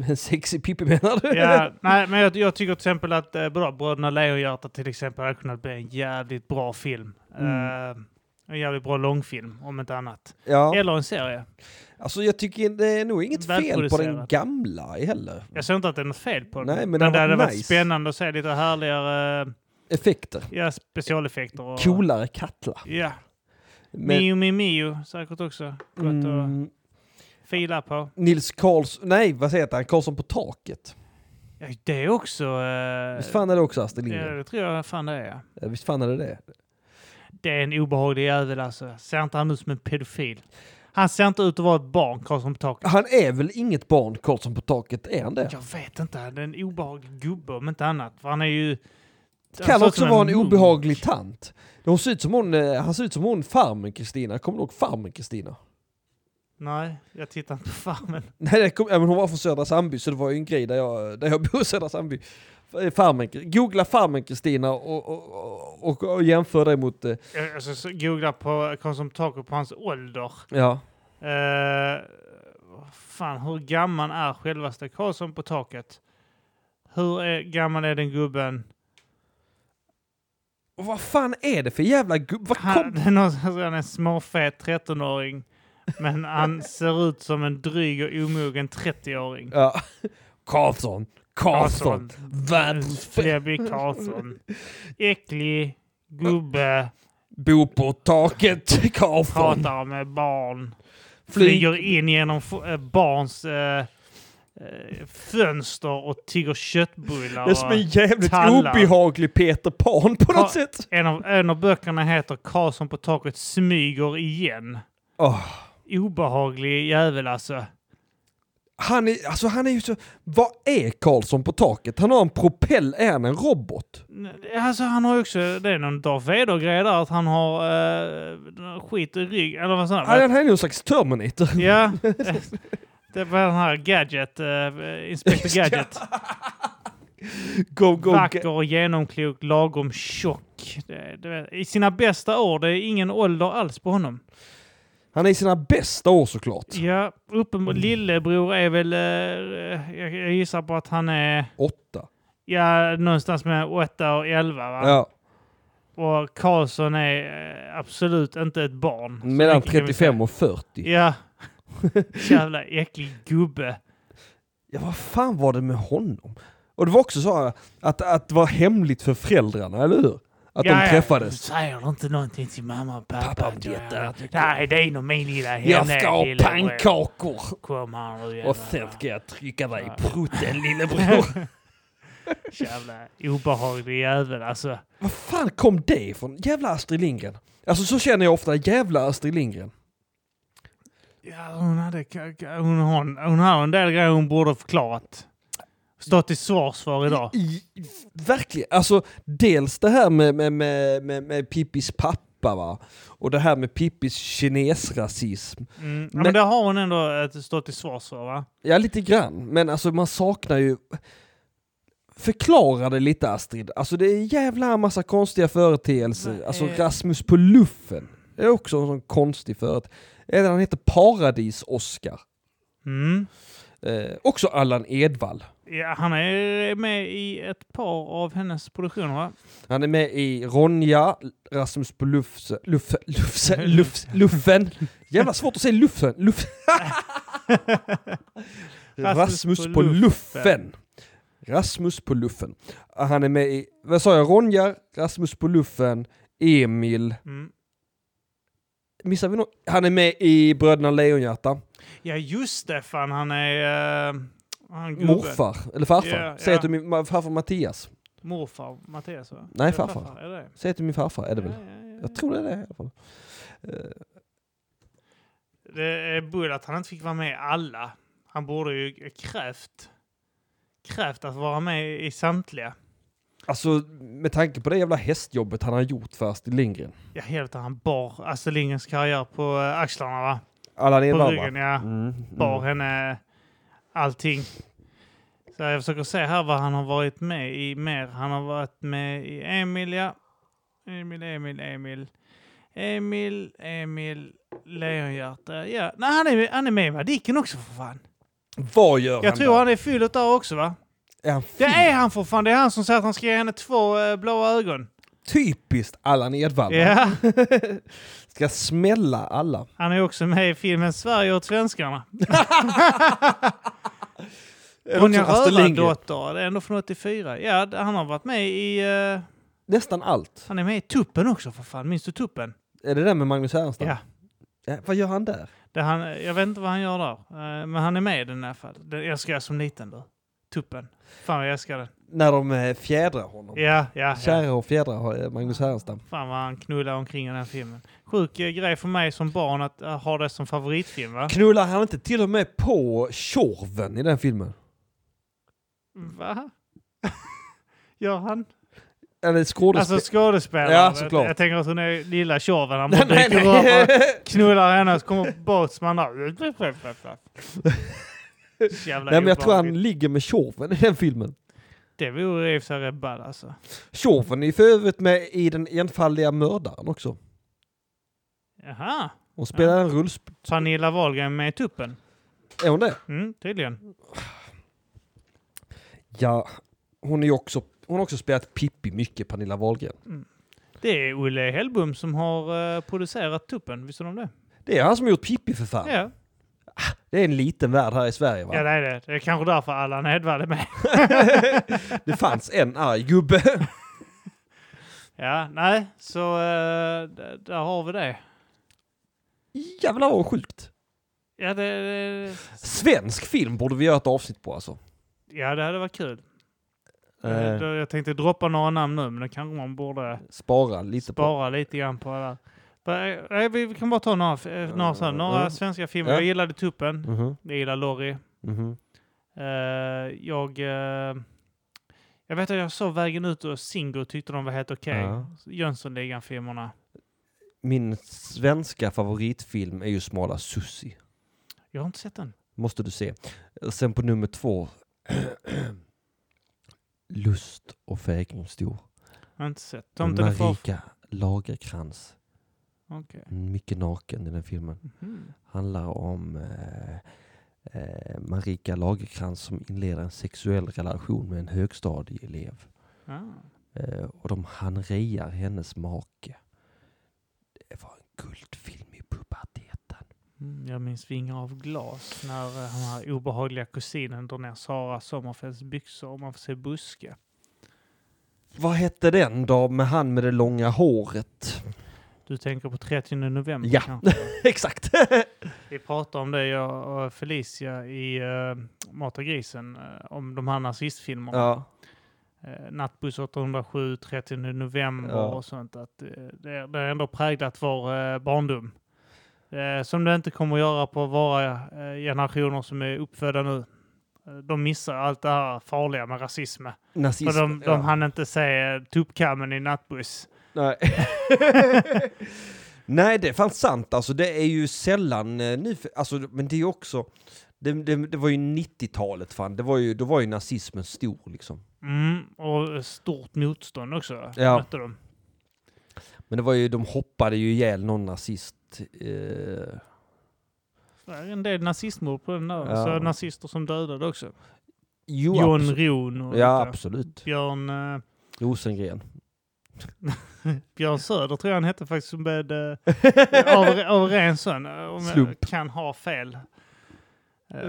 [SPEAKER 2] en sexig Pippi menar du?
[SPEAKER 4] Ja, nej, men jag, jag tycker till exempel att eh, bra, Bröderna Lejonhjärta till exempel hade kunnat bli en jävligt bra film.
[SPEAKER 2] Mm.
[SPEAKER 4] Eh, en jävligt bra långfilm, om inte annat.
[SPEAKER 2] ja.
[SPEAKER 4] Eller en serie.
[SPEAKER 2] Alltså jag tycker det är nog inget fel på den
[SPEAKER 4] Välproducerat.
[SPEAKER 2] gamla heller.
[SPEAKER 4] Jag ser inte att det är något fel på den.
[SPEAKER 2] Nej, men
[SPEAKER 4] det
[SPEAKER 2] det
[SPEAKER 4] hade
[SPEAKER 2] har varit
[SPEAKER 4] varit
[SPEAKER 2] nice.
[SPEAKER 4] spännande att se lite härligare
[SPEAKER 2] Effekter.
[SPEAKER 4] ja, specialeffekter. Och,
[SPEAKER 2] Coolare kattlar.
[SPEAKER 4] Ja.
[SPEAKER 2] Men,
[SPEAKER 4] Mio, Mio, Mio säkert också. Gott att
[SPEAKER 2] mm,
[SPEAKER 4] fila på.
[SPEAKER 2] Nils Karls... Nej, vad säger han? Karlsson på taket.
[SPEAKER 4] Ja, det är också... eh,
[SPEAKER 2] Visst fan är det också Astrid
[SPEAKER 4] ja,
[SPEAKER 2] Lindgren?
[SPEAKER 4] det tror jag fan det är. ja.
[SPEAKER 2] Ja, Visst fan är det det?
[SPEAKER 4] Det är en obehaglig jävel alltså. Ser inte han ut som en pedofil? Han ser inte ut att vara ett barn, Karlsson på taket.
[SPEAKER 2] Han är väl inget barn, Karlsson på taket? Är han det?
[SPEAKER 4] Jag vet inte, han är en obehaglig gubbe om inte annat. För han är ju...
[SPEAKER 2] kan
[SPEAKER 4] ser ut
[SPEAKER 2] också
[SPEAKER 4] alltså, som
[SPEAKER 2] vara en
[SPEAKER 4] munk.
[SPEAKER 2] obehaglig tant. Hon ser ut som hon, eh, han ser ut som hon farmen Kristina. Kommer du ihåg farmen Kristina?
[SPEAKER 4] Nej, jag tittar inte på Farmen.
[SPEAKER 2] Nej, det kom, ja, men hon var från Södra Sandby så det var ju en grej där jag, där jag bor i Södra Sandby. Eh, Farmen, googla farmen Kristina och, och, och, och jämför det mot... eh,
[SPEAKER 4] Jag alltså, så googlar på Karlsson på taket på hans ålder.
[SPEAKER 2] Ja.
[SPEAKER 4] Eh, vad fan, hur gammal är självaste Karlsson på taket? Hur är, gammal är den gubben?
[SPEAKER 2] Och vad fan är det för jävla gubb? Vad
[SPEAKER 4] Han,
[SPEAKER 2] kom...
[SPEAKER 4] det är någon, som säger han är en småfet 13-åring, men han ser ut som en dryg och omogen 30-åring.
[SPEAKER 2] Ja. Karlsson, Karlsson, världens bästa.
[SPEAKER 4] Flebby Karlsson. Äcklig gubbe,
[SPEAKER 2] Bo på taket, Karlsson.
[SPEAKER 4] pratar med barn,
[SPEAKER 2] Flyg.
[SPEAKER 4] flyger in genom f- eh, barns eh, eh, fönster och tigger köttbullar.
[SPEAKER 2] Det är som en
[SPEAKER 4] och-
[SPEAKER 2] jävligt
[SPEAKER 4] tallar.
[SPEAKER 2] obehaglig Peter Pan på
[SPEAKER 4] Ja.
[SPEAKER 2] något sätt.
[SPEAKER 4] En av, en av böckerna heter Karlsson på taket smyger igen.
[SPEAKER 2] Åh.
[SPEAKER 4] Obehaglig jävel alltså.
[SPEAKER 2] Han är, alltså han är ju så... Vad är Karlsson på taket? Han har en propell, är han en robot?
[SPEAKER 4] Alltså han har ju också, det är någon Darth Vader-grej där, att han har eh, skit i rygg eller vad sånt.
[SPEAKER 2] Han är, han är någon slags Terminator.
[SPEAKER 4] Ja. Det var den här Gadget, eh, Inspector Gadget.
[SPEAKER 2] Go, go,
[SPEAKER 4] Vacker
[SPEAKER 2] go.
[SPEAKER 4] och genomklok, lagom tjock. Det, det, I sina bästa år, det är ingen ålder alls på honom.
[SPEAKER 2] Han är i sina bästa år såklart.
[SPEAKER 4] Ja,
[SPEAKER 2] Mm.
[SPEAKER 4] uppenbar, lillebror är väl, eh, jag, jag gissar på att han är
[SPEAKER 2] Åtta.
[SPEAKER 4] Ja, någonstans mellan 8 och 11 va?
[SPEAKER 2] Ja,
[SPEAKER 4] Och Karlsson är eh, absolut inte ett barn. Så
[SPEAKER 2] mellan
[SPEAKER 4] mycket kan vi
[SPEAKER 2] 35 och 40.
[SPEAKER 4] säga. Ja. Jävla äcklig gubbe.
[SPEAKER 2] Ja, vad fan var det med honom? Och det var också så här att, att det var hemligt för föräldrarna, eller hur? Att
[SPEAKER 4] ja,
[SPEAKER 2] de
[SPEAKER 4] Ja.
[SPEAKER 2] träffades.
[SPEAKER 4] Säger du inte någonting till mamma och pappa?
[SPEAKER 2] Pappa vet
[SPEAKER 4] tror
[SPEAKER 2] det här
[SPEAKER 4] jag.
[SPEAKER 2] tycker jag.
[SPEAKER 4] Nej, det är nog min lilla henne.
[SPEAKER 2] Jag ska ha
[SPEAKER 4] lillebror.
[SPEAKER 2] pannkakor!
[SPEAKER 4] Kom här nu
[SPEAKER 2] Och
[SPEAKER 4] jävla-
[SPEAKER 2] sen ska jag trycka dig i prutten lillebror.
[SPEAKER 4] Jävla obehaglig jävel alltså.
[SPEAKER 2] Vad fan kom det ifrån? Jävla Astrid Lindgren. Alltså så känner jag ofta, jävla Astrid Lindgren.
[SPEAKER 4] Ja, hon hade, ka- ka- hon, hon, hon har en del grejer hon borde ha förklarat. Stått till svars för idag.
[SPEAKER 2] I, i- verkligen, alltså dels det här med, med, med, med, med Pippis pappa va. Och det här med Pippis kinesrasism.
[SPEAKER 4] Mm. Ja,
[SPEAKER 2] Men-
[SPEAKER 4] men, det har hon ändå eh, stått till svars för va?
[SPEAKER 2] Ja lite grann, men alltså man saknar ju... Förklara det lite Astrid, alltså det är en jävla massa konstiga företeelser.
[SPEAKER 4] Vad
[SPEAKER 2] Alltså
[SPEAKER 4] är-
[SPEAKER 2] Rasmus på luffen, det är också en sån konstig företeelse. Eller han heter Paradis-Oskar.
[SPEAKER 4] Mm.
[SPEAKER 2] Eh, också Allan Edwall.
[SPEAKER 4] Ja, han är med i ett par av hennes produktioner va?
[SPEAKER 2] Han är med i Ronja, Rasmus på Lufse, Lufse, Lufse, Lufse, Luffen. Jävla svårt att säga Luffen. Luff. Rasmus på Luffen. Rasmus på Luffen. Han är med i, vad sa jag, Ronja, Rasmus på Luffen, Emil.
[SPEAKER 4] Mm.
[SPEAKER 2] Missar vi något? Han är med i Bröderna Lejonhjärta.
[SPEAKER 4] Ja just det fan, han är... Uh, han gubben.
[SPEAKER 2] Morfar, eller farfar.
[SPEAKER 4] Ja,
[SPEAKER 2] Säg
[SPEAKER 4] ja.
[SPEAKER 2] att du är min ma- farfar Mattias.
[SPEAKER 4] Morfar Mattias va?
[SPEAKER 2] Nej,
[SPEAKER 4] Är det
[SPEAKER 2] farfar.
[SPEAKER 4] Är det det?
[SPEAKER 2] Säg att du är min farfar, är det väl?
[SPEAKER 4] Ja, ja, ja.
[SPEAKER 2] Jag tror det är det i alla fall. Eh,
[SPEAKER 4] Det är bull att han inte fick vara med i alla. Han borde ju krävt, krävt att vara med i samtliga.
[SPEAKER 2] Alltså med tanke på det jävla hästjobbet han har gjort för Astrid Lindgren.
[SPEAKER 4] Ja helvete, han bar Astrid Lindgrens karriär på eh, axlarna va?
[SPEAKER 2] Allan
[SPEAKER 4] På
[SPEAKER 2] Edwall va?
[SPEAKER 4] ryggen ja.
[SPEAKER 2] Mm,
[SPEAKER 4] bar
[SPEAKER 2] mm.
[SPEAKER 4] henne allting. Så jag försöker se här vad han har varit med i mer. Han har varit med i Emil, ja. Emil, Emil, Emil. Emil, Emil, Lejonhjärta. Ja, nej, han är, han är med i Madicken också för fan.
[SPEAKER 2] Vad gör
[SPEAKER 4] Jag
[SPEAKER 2] han
[SPEAKER 4] tror
[SPEAKER 2] då?
[SPEAKER 4] han är fylld där också va?
[SPEAKER 2] Är han
[SPEAKER 4] Det
[SPEAKER 2] fin?
[SPEAKER 4] är han för fan. Det är han som säger att han ska ge henne två eh, blåa ögon.
[SPEAKER 2] Typiskt Allan Edwall. va?
[SPEAKER 4] Ja,
[SPEAKER 2] Ska smälla alla.
[SPEAKER 4] han är också med i filmen Sverige åt svenskarna. Ronja Rövardotter, det är ändå från 84. Ja, d- han har varit med i... eh,
[SPEAKER 2] Nästan allt.
[SPEAKER 4] han är med i Tuppen också för fan. Minns du Tuppen?
[SPEAKER 2] Är det den med Magnus Härenstam?
[SPEAKER 4] Ja.
[SPEAKER 2] Ja, Vad gör han där?
[SPEAKER 4] eh, Det han, jag vet inte vad han gör där, eh, men han är med i den i alla fall. Den älskar jag som liten då. tuppen. Fan vad jag älskar den.
[SPEAKER 2] När de eh, fjädrar honom.
[SPEAKER 4] Ja, ja, ja.
[SPEAKER 2] Kära och fjädrar har, eh, Magnus Härenstam.
[SPEAKER 4] Fan vad han knullar omkring i den här filmen. Sjuk eh, grej för mig som barn att eh, ha det som favoritfilm va?
[SPEAKER 2] Knullar han inte till och med på Tjorven i den filmen?
[SPEAKER 4] Va? Gör han?
[SPEAKER 2] Eller skådespel...
[SPEAKER 4] Alltså skådespelare.
[SPEAKER 2] Ja, såklart.
[SPEAKER 4] Jag tänker att hon är lilla tjorven. Han bara dyker upp och knullar henne och så kommer Båtsman där. Så Jävla
[SPEAKER 2] Nej men jag tror han
[SPEAKER 4] obehagligt.
[SPEAKER 2] ligger med Tjorven i den filmen.
[SPEAKER 4] Det vore i och för sig rätt ball alltså.
[SPEAKER 2] Tjorven är ju för övrigt med i Den enfaldiga mördaren också.
[SPEAKER 4] Jaha.
[SPEAKER 2] Hon spelar en rullsp...
[SPEAKER 4] Pernilla Wahlgren med i tuppen?
[SPEAKER 2] Är hon det?
[SPEAKER 4] Mm, tydligen.
[SPEAKER 2] Ja. Hon är ju också... Hon har också spelat Pippi mycket, Pernilla Wahlgren.
[SPEAKER 4] Det är Olle Hellbom som har eh, producerat tuppen, visste du om det?
[SPEAKER 2] Det är han som har gjort Pippi för fan.
[SPEAKER 4] Ja.
[SPEAKER 2] Det är en liten värld här i Sverige va?
[SPEAKER 4] ja, det är det. Det är kanske därför Allan Edwall är med.
[SPEAKER 2] Det fanns en arg gubbe.
[SPEAKER 4] Ja, nej, så eh, d- där har vi det.
[SPEAKER 2] Jävlar vad sjukt.
[SPEAKER 4] Ja, det, det,
[SPEAKER 2] Svensk film borde vi göra ett avsnitt på alltså.
[SPEAKER 4] ja, det hade varit kul.
[SPEAKER 2] Eh,
[SPEAKER 4] Eh, då- Jag tänkte droppa några namn nu, men det kanske man borde
[SPEAKER 2] spara lite på.
[SPEAKER 4] spara lite grann på. Där. Va- Nej, vi vi kan bara ta några, f- eh, några, sådana, några
[SPEAKER 2] Mm.
[SPEAKER 4] svenska filmer.
[SPEAKER 2] Ja.
[SPEAKER 4] Jag gillade Tuppen.
[SPEAKER 2] Mhm,
[SPEAKER 4] Jag gillar Lorry.
[SPEAKER 2] mhm.
[SPEAKER 4] Eh, jag... eh, jag vet att jag såg Vägen ut och Singo tyckte de var helt okej.
[SPEAKER 2] Ja.
[SPEAKER 4] Jönssonligan-filmerna.
[SPEAKER 2] Min svenska favoritfilm är ju Smala Sussi.
[SPEAKER 4] Jag har inte sett den.
[SPEAKER 2] Måste du se. Sen på nummer två. Lust och fägring stor.
[SPEAKER 4] Jag har inte sett. Tomten är far...
[SPEAKER 2] Marika Lagerkrans.
[SPEAKER 4] Okej.
[SPEAKER 2] Mycket naken i den filmen.
[SPEAKER 4] Mhm.
[SPEAKER 2] handlar om eh, eh, Marika Lagerkrans som inleder en sexuell relation med en högstadieelev.
[SPEAKER 4] Ah.
[SPEAKER 2] Eh, och de hanrejar hennes make. Det var en guldfilm i puberteten.
[SPEAKER 4] Mm, jag minns Vingar av glas när eh, den här obehagliga kusinen drar ner Sara Sommerfeldts byxor och man får se buske.
[SPEAKER 2] Vad hette den då med han med det långa håret?
[SPEAKER 4] Du tänker på 30 november
[SPEAKER 2] Ja.
[SPEAKER 4] kanske?
[SPEAKER 2] Exakt!
[SPEAKER 4] Vi pratade om det, jag och Felicia, i uh, Mat och grisen, eh, om de här nazistfilmerna.
[SPEAKER 2] ja.
[SPEAKER 4] eh, Nattbuss 807, 30 november
[SPEAKER 2] Ja.
[SPEAKER 4] och sånt. Att, eh, det, det har ändå präglat vår eh, barndom. Eh, som det inte kommer att göra på våra eh, generationer som är uppfödda nu. Eh, De missar allt det här farliga med rasism.
[SPEAKER 2] Nazism.
[SPEAKER 4] För de, de
[SPEAKER 2] ja.
[SPEAKER 4] hann inte se eh, tuppkammen i Nattbuss.
[SPEAKER 2] Nej. Nej, det är fan sant. Alltså, det är ju sällan eh, nu... Alltså, men det är ju också... Det, det, det var ju 90-talet fan. Det var ju, då var ju nazismen stor liksom.
[SPEAKER 4] Mm, och eh, stort motstånd också.
[SPEAKER 2] Ja.
[SPEAKER 4] Mötte de.
[SPEAKER 2] Men det var ju, de hoppade ju ihjäl någon nazist. Eh,
[SPEAKER 4] Det är en del nazistmord på den där.
[SPEAKER 2] Ja.
[SPEAKER 4] Så nazister som dödade också.
[SPEAKER 2] jo,
[SPEAKER 4] Jon
[SPEAKER 2] abso-
[SPEAKER 4] Ron och
[SPEAKER 2] Ja,
[SPEAKER 4] lite
[SPEAKER 2] absolut.
[SPEAKER 4] Björn... eh,
[SPEAKER 2] Rosengren.
[SPEAKER 4] Björn Söder tror jag han hette faktiskt som började av, av ren son. eh, Om jag
[SPEAKER 2] Slump.
[SPEAKER 4] kan ha fel. Eh,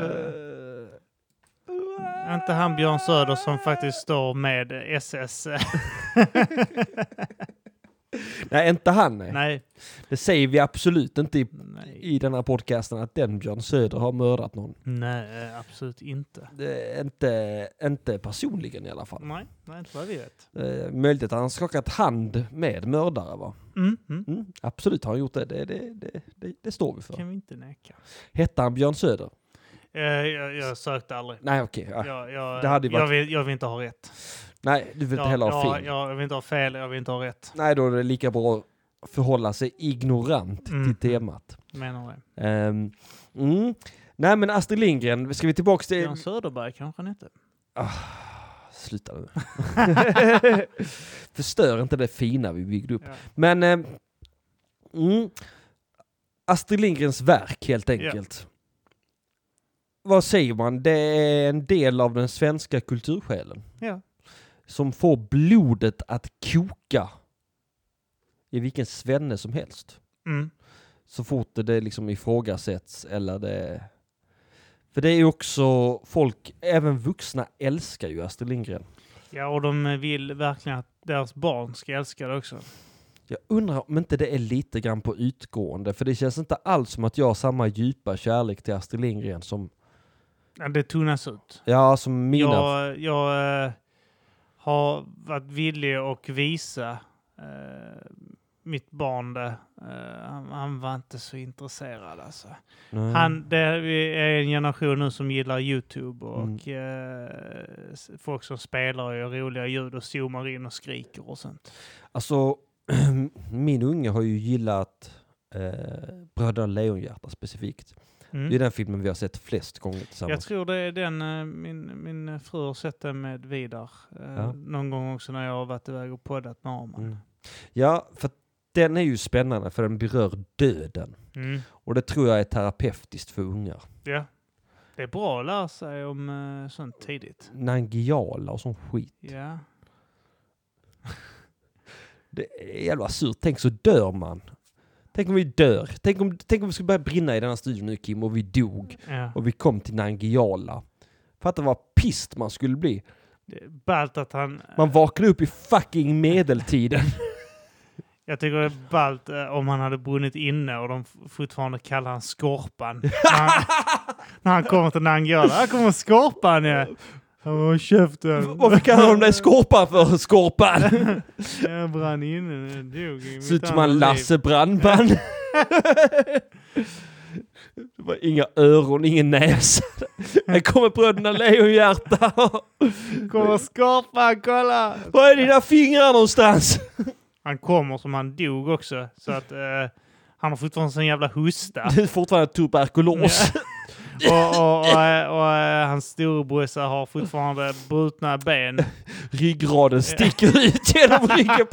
[SPEAKER 4] Inte han Björn Söder som faktiskt står med SS.
[SPEAKER 2] Nej, inte han. Nej.
[SPEAKER 4] Nej.
[SPEAKER 2] Det säger vi absolut inte i,
[SPEAKER 4] Nej.
[SPEAKER 2] i den här podcasten att den Björn Söder har mördat någon.
[SPEAKER 4] Nej, eh, absolut inte.
[SPEAKER 2] Det är inte, inte personligen i alla fall.
[SPEAKER 4] Nej, nej inte vad vi vet.
[SPEAKER 2] Eh, möjligt att han skakat hand med mördare va?
[SPEAKER 4] Mm, mm.
[SPEAKER 2] Mm, absolut har han gjort det. Det, det, det, det, det står vi för.
[SPEAKER 4] kan vi inte neka.
[SPEAKER 2] Hette han Björn Söder?
[SPEAKER 4] Eh, jag, jag sökte aldrig.
[SPEAKER 2] Nej okej. ja.
[SPEAKER 4] Jag, jag,
[SPEAKER 2] Ah, det hade ju
[SPEAKER 4] jag,
[SPEAKER 2] varit-
[SPEAKER 4] vill, jag vill inte ha rätt.
[SPEAKER 2] Nej, du vill inte
[SPEAKER 4] Jag-
[SPEAKER 2] heller ha
[SPEAKER 4] jag,
[SPEAKER 2] fel.
[SPEAKER 4] Jag, jag vill inte ha fel, jag vill inte ha rätt.
[SPEAKER 2] Nej, då är det lika bra att förhålla sig ignorant
[SPEAKER 4] Mm.
[SPEAKER 2] till temat.
[SPEAKER 4] Menar det.
[SPEAKER 2] Ehm, mm. Nej men Astrid Lindgren, ska vi tillbaka till...
[SPEAKER 4] Björn Söderberg kanske han hette.
[SPEAKER 2] Ah, Sluta nu. Förstör inte det fina vi byggde upp.
[SPEAKER 4] Ja.
[SPEAKER 2] Men... ehm, mm. Astrid Lindgrens verk helt enkelt. Vad säger man? Det är en del av den svenska kultursjälen.
[SPEAKER 4] Ja.
[SPEAKER 2] Som får blodet att koka i vilken svenne som helst.
[SPEAKER 4] Mm.
[SPEAKER 2] så fort det- det liksom ifrågasätts eller det... För det är ju också folk, även vuxna älskar ju Astrid Lindgren.
[SPEAKER 4] Ja, och de vill verkligen att deras barn ska älska det också.
[SPEAKER 2] Jag undrar om inte det är lite grann på utgående, för det känns inte alls som att jag har samma djupa kärlek till Astrid Lindgren som
[SPEAKER 4] Ja, Det tunnas ut.
[SPEAKER 2] Ja, som mina.
[SPEAKER 4] Jag, jag eh, har varit villig att visa eh, mitt barn det. Eh, han, han var inte så intresserad alltså.
[SPEAKER 2] Nej.
[SPEAKER 4] Han, det är en generation nu som gillar Youtube och
[SPEAKER 2] Mm.
[SPEAKER 4] eh, s- folk som spelar och gör roliga ljud och zoomar in och skriker och sånt.
[SPEAKER 2] Alltså, min unge har ju gillat eh, Bröderna Lejonhjärta specifikt.
[SPEAKER 4] Mm.
[SPEAKER 2] Det är den filmen vi har sett flest gånger tillsammans.
[SPEAKER 4] Jag tror det är den eh, min, min fru har sett den med Vidar. Eh,
[SPEAKER 2] Ja.
[SPEAKER 4] Någon gång också när jag har varit iväg och poddat med Arman.
[SPEAKER 2] Mm. Ja, för att den är ju spännande för den berör döden.
[SPEAKER 4] Mm.
[SPEAKER 2] Och det tror jag är terapeutiskt för ungar.
[SPEAKER 4] Ja. Det är bra att lära sig om eh, sånt tidigt.
[SPEAKER 2] Nangiala och sån skit.
[SPEAKER 4] Ja.
[SPEAKER 2] Det är jävla surt. Tänk så dör man. Tänk om vi dör. Tänk om, tänk om vi skulle börja brinna i denna studion nu Kim och vi dog.
[SPEAKER 4] ja.
[SPEAKER 2] Och vi kom till Nangiala. Fatta vad pist man skulle bli.
[SPEAKER 4] Det är ballt att han...
[SPEAKER 2] Man vaknade upp i fucking medeltiden.
[SPEAKER 4] Jag tycker det är ballt eh, om han hade brunnit inne och de f- fortfarande kallar han Skorpan. när, han, när han kommer till Nangijala. Här kommer Skorpan ja! Åh, käften!
[SPEAKER 2] Varför kallar de dig Skorpan för Skorpan?
[SPEAKER 4] Jag brann inne, jag dog i mitt
[SPEAKER 2] Ser ut som
[SPEAKER 4] andra
[SPEAKER 2] en
[SPEAKER 4] liv.
[SPEAKER 2] Lasse Brandman. Det var inga öron, ingen näsa. Här kommer bröderna Lejonhjärta.
[SPEAKER 4] Kommer Skorpan, kolla!
[SPEAKER 2] Var är dina fingrar någonstans?
[SPEAKER 4] Han kommer som han dog också, så att eh, han har fortfarande sån jävla hosta.
[SPEAKER 2] Det är fortfarande tuberkulos.
[SPEAKER 4] och, och, och, eh, och, eh, hans storebrorsa har fortfarande brutna ben.
[SPEAKER 2] Ryggraden sticker ut genom ryggen.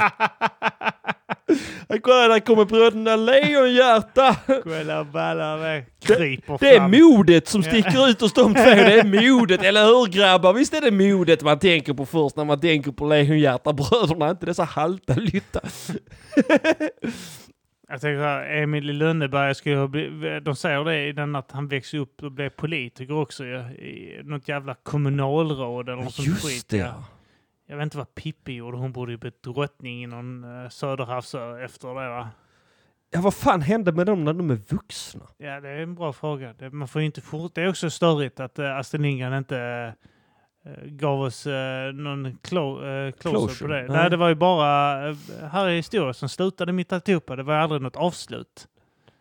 [SPEAKER 2] Här, Kolla, där kommer bröderna Lejonhjärta.
[SPEAKER 4] Kolla ballar det kryper
[SPEAKER 2] Det är
[SPEAKER 4] fram.
[SPEAKER 2] modet som sticker ut hos de två. Det är modet, eller hur grabbar? Visst är det modet man tänker på först när man tänker på Lejonhjärta-bröderna, inte dessa halta lytta.
[SPEAKER 4] Jag tänker att Emil i Lönneberga skulle ha blivit, de säger det i den att han växte upp och blev politiker också ju. I något jävla kommunalråd eller något sånt skit. ja. Jag vet inte vad Pippi gjorde, hon borde ju bli drottning i någon eh, söderhavsö efter det va?
[SPEAKER 2] Ja, vad fan hände med dem när de är vuxna?
[SPEAKER 4] Ja, det är en bra fråga. Det, man får ju inte fort... Det är också störigt att eh, Astrid Lindgren inte eh, gav oss eh, någon clo- eh, closure
[SPEAKER 2] Closure,
[SPEAKER 4] på det.
[SPEAKER 2] nej.
[SPEAKER 4] Nej. det var ju bara... eh, här är historia som slutade mitt alltihopa. Det var ju aldrig något avslut.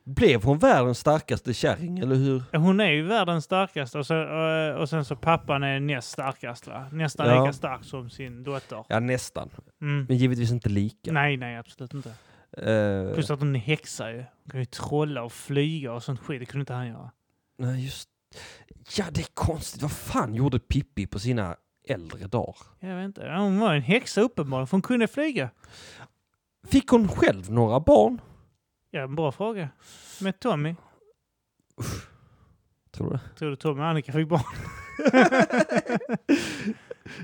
[SPEAKER 2] Blev hon världens starkaste kärring, eller hur?
[SPEAKER 4] Hon är ju världens starkaste och, så, eh, och sen så pappan är näst starkast va? Nästan
[SPEAKER 2] Ja.
[SPEAKER 4] lika stark som sin dotter.
[SPEAKER 2] Ja, nästan.
[SPEAKER 4] Mm.
[SPEAKER 2] Men givetvis inte lika.
[SPEAKER 4] Nej, nej, absolut inte.
[SPEAKER 2] Eh,
[SPEAKER 4] Plus att hon är häxa ju. Hon kan ju trolla och flyga och sånt skit. Det kunde inte han göra.
[SPEAKER 2] nej, just... Ja, det är konstigt. Vad fan gjorde Pippi på sina äldre dagar?
[SPEAKER 4] Jag vet inte. Ja, Hon var en häxa uppenbarligen, för hon kunde flyga.
[SPEAKER 2] Fick hon själv några barn?
[SPEAKER 4] Ja, en bra fråga. Med Tommy.
[SPEAKER 2] Tror du?
[SPEAKER 4] Tror du Tommy och Annika fick barn?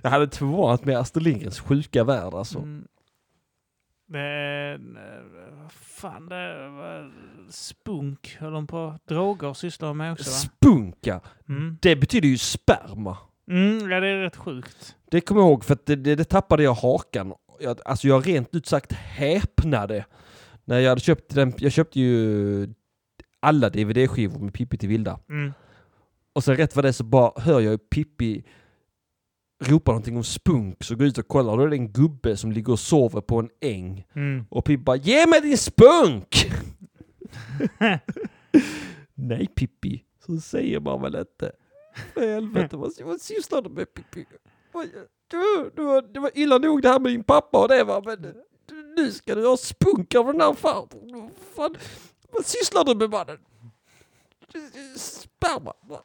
[SPEAKER 2] Jag hade inte förvånat mig Astrid Lindgrens sjuka värld alltså.
[SPEAKER 4] Mm. Det är... vad Fan, det var spunk höll de på. Droger sysslar de med också va?
[SPEAKER 2] Spunka,
[SPEAKER 4] Mm.
[SPEAKER 2] det betyder ju sperma.
[SPEAKER 4] Mm, ja, det är rätt sjukt.
[SPEAKER 2] Det kommer jag ihåg för att det, det, det tappade jag hakan. Jag, alltså jag rent ut sagt häpnade. När jag hade köpt den, jag köpte ju alla DVD-skivor med Pippi till Vilda.
[SPEAKER 4] Mm.
[SPEAKER 2] Och sen rätt vad det är så bara hör jag ju Pippi ropa någonting om spunk. Så går jag ut och kollar och då är det en gubbe som ligger och sover på en äng.
[SPEAKER 4] Mm.
[SPEAKER 2] Och Pippi bara Ge mig din spunk! Nej Pippi, så säger man väl inte? För helvete, vad vad sysslar du med Pippi? Vad- Du, du, har- det var illa nog det här med din pappa och det va, men du- nu ska du ha spunk av den här farbrorn. Vad Fan, vad sysslar du med mannen? Du- du- Sperma. va?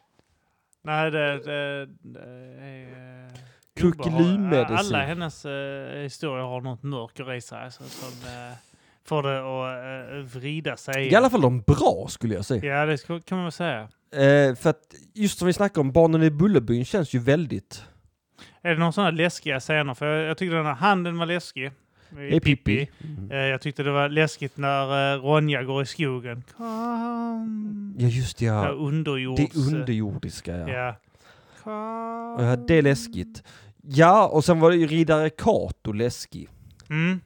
[SPEAKER 4] Nej, det, det, det är... eh,
[SPEAKER 2] Kuckelymedicin.
[SPEAKER 4] Alla hennes eh, historier har något mörker i sig alltså, som eh, får det att eh, vrida sig.
[SPEAKER 2] I alla fall de bra skulle jag säga.
[SPEAKER 4] Ja, det ska- kan man väl säga.
[SPEAKER 2] Eh, för att just som vi snackade om, Barnen i Bullerbyn känns ju väldigt...
[SPEAKER 4] Är det någon sån här läskiga scener? För jag, jag tyckte den här handen var läskig. I
[SPEAKER 2] Hej, Pippi.
[SPEAKER 4] Eh, Jag tyckte det var läskigt när eh, Ronja går i skogen. Kom.
[SPEAKER 2] Ja just det,
[SPEAKER 4] Ja,
[SPEAKER 2] ja.
[SPEAKER 4] underjords... eh,
[SPEAKER 2] Det underjordiska ja.
[SPEAKER 4] Ja.
[SPEAKER 2] Och ja, det är läskigt. Ja, och sen var det ju riddare Kato läskig.
[SPEAKER 4] Mm.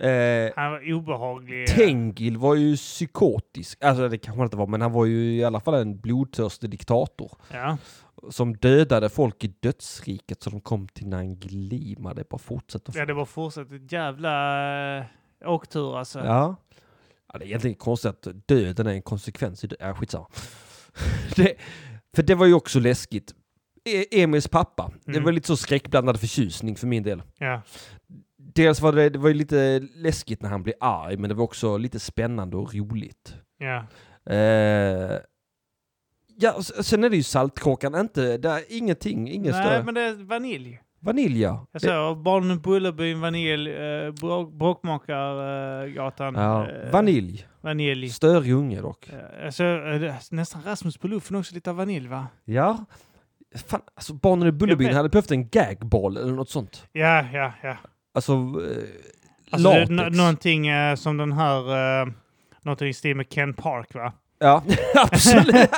[SPEAKER 2] Eh,
[SPEAKER 4] Han var obehaglig. eh,
[SPEAKER 2] Tengil var ju psykotisk. Alltså det kanske han inte var, men han var ju i alla fall en blodtörstig diktator.
[SPEAKER 4] Ja.
[SPEAKER 2] Som dödade folk i dödsriket så de kom till Nangilima. Det bara fortsätter.
[SPEAKER 4] Ja, det var fortsatt ett jävla eh, åktur alltså.
[SPEAKER 2] Ja. ja. Det är egentligen konstigt att döden är en konsekvens i det. Ja, skitsamma. det, för det var ju också läskigt. E- Emils pappa. Det
[SPEAKER 4] Mm.
[SPEAKER 2] var lite så skräckblandad förtjusning för min del.
[SPEAKER 4] Ja.
[SPEAKER 2] Dels var det, det var ju lite läskigt när han blev arg, men det var också lite spännande och roligt.
[SPEAKER 4] ja.
[SPEAKER 2] Eh, ja, och s- sen är det ju saltkråkan, inte, där, ingenting,
[SPEAKER 4] Nej,
[SPEAKER 2] inget större.
[SPEAKER 4] men det är vanilj.
[SPEAKER 2] Vanilja.
[SPEAKER 4] Jag
[SPEAKER 2] Det-
[SPEAKER 4] sa Barnen Bullerbyn, Vanilj, eh, bråk, Bråkmakargatan.
[SPEAKER 2] ja,
[SPEAKER 4] eh,
[SPEAKER 2] vanilj.
[SPEAKER 4] Vanilj.
[SPEAKER 2] Störig unge dock.
[SPEAKER 4] Eh, Alltså, eh, det- nästan Rasmus på luffen också, lite av vanilj va?
[SPEAKER 2] Ja. Fan, alltså barnen i Bullerbyn
[SPEAKER 4] Jag vet.
[SPEAKER 2] hade behövt en gagball eller något sånt.
[SPEAKER 4] Ja, ja, ja.
[SPEAKER 2] Alltså, eh,
[SPEAKER 4] Alltså, det är
[SPEAKER 2] latex.
[SPEAKER 4] nå- någonting eh, som den här, eh, någonting i stil med Ken Park va?
[SPEAKER 2] Ja, absolut.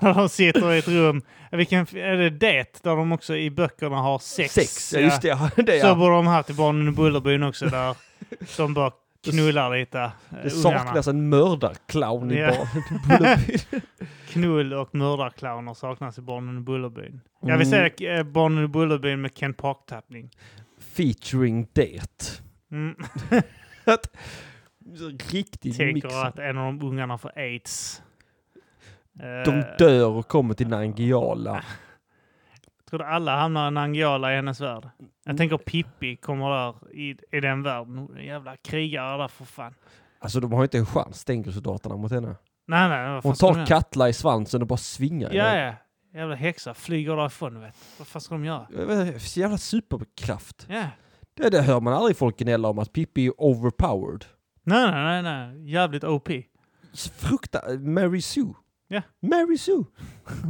[SPEAKER 4] När de sitter i ett rum. Vilken, är det det? Där de också i böckerna har sex.
[SPEAKER 2] Sex, ja just det. Ja, det
[SPEAKER 4] Så
[SPEAKER 2] ja.
[SPEAKER 4] borde de haft i Barnen i Bullerbyn också där de bara knullar lite. eh,
[SPEAKER 2] Det
[SPEAKER 4] ungarna.
[SPEAKER 2] saknas en mördarclown i
[SPEAKER 4] Ja.
[SPEAKER 2] barnen i Bullerbyn.
[SPEAKER 4] Knull och mördarclowner saknas i Barnen i Bullerbyn. Jag
[SPEAKER 2] Mm.
[SPEAKER 4] vill säga eh, Barnen i Bullerbyn med Ken Park-tappning.
[SPEAKER 2] featuring det.
[SPEAKER 4] Mm.
[SPEAKER 2] Riktig mix.
[SPEAKER 4] Tänker att en av de ungarna får aids.
[SPEAKER 2] De
[SPEAKER 4] Eh,
[SPEAKER 2] dör och kommer till Nangijala.
[SPEAKER 4] Tror du alla hamnar i Nangijala i hennes värld? Jag tänker Pippi kommer där i, i den världen. Jävla krigare där för fan.
[SPEAKER 2] Alltså de har inte en chans, stängselsoldaterna mot henne.
[SPEAKER 4] Nej, nej. vad fan
[SPEAKER 2] Hon
[SPEAKER 4] ska de
[SPEAKER 2] tar
[SPEAKER 4] göra?
[SPEAKER 2] Katla i svansen och bara svingar
[SPEAKER 4] Ja,
[SPEAKER 2] henne.
[SPEAKER 4] ja. Jävla häxa. Flyger därifrån, vet du. Vad fan ska de göra?
[SPEAKER 2] Jag vet inte, så Jävla superkraft.
[SPEAKER 4] Ja.
[SPEAKER 2] Det, det hör man aldrig folk gnälla om att Pippi är overpowered.
[SPEAKER 4] Nej, nej, nej, nej. Jävligt OP.
[SPEAKER 2] Frukta... Mary Sue.
[SPEAKER 4] Ja.
[SPEAKER 2] Mary Sue.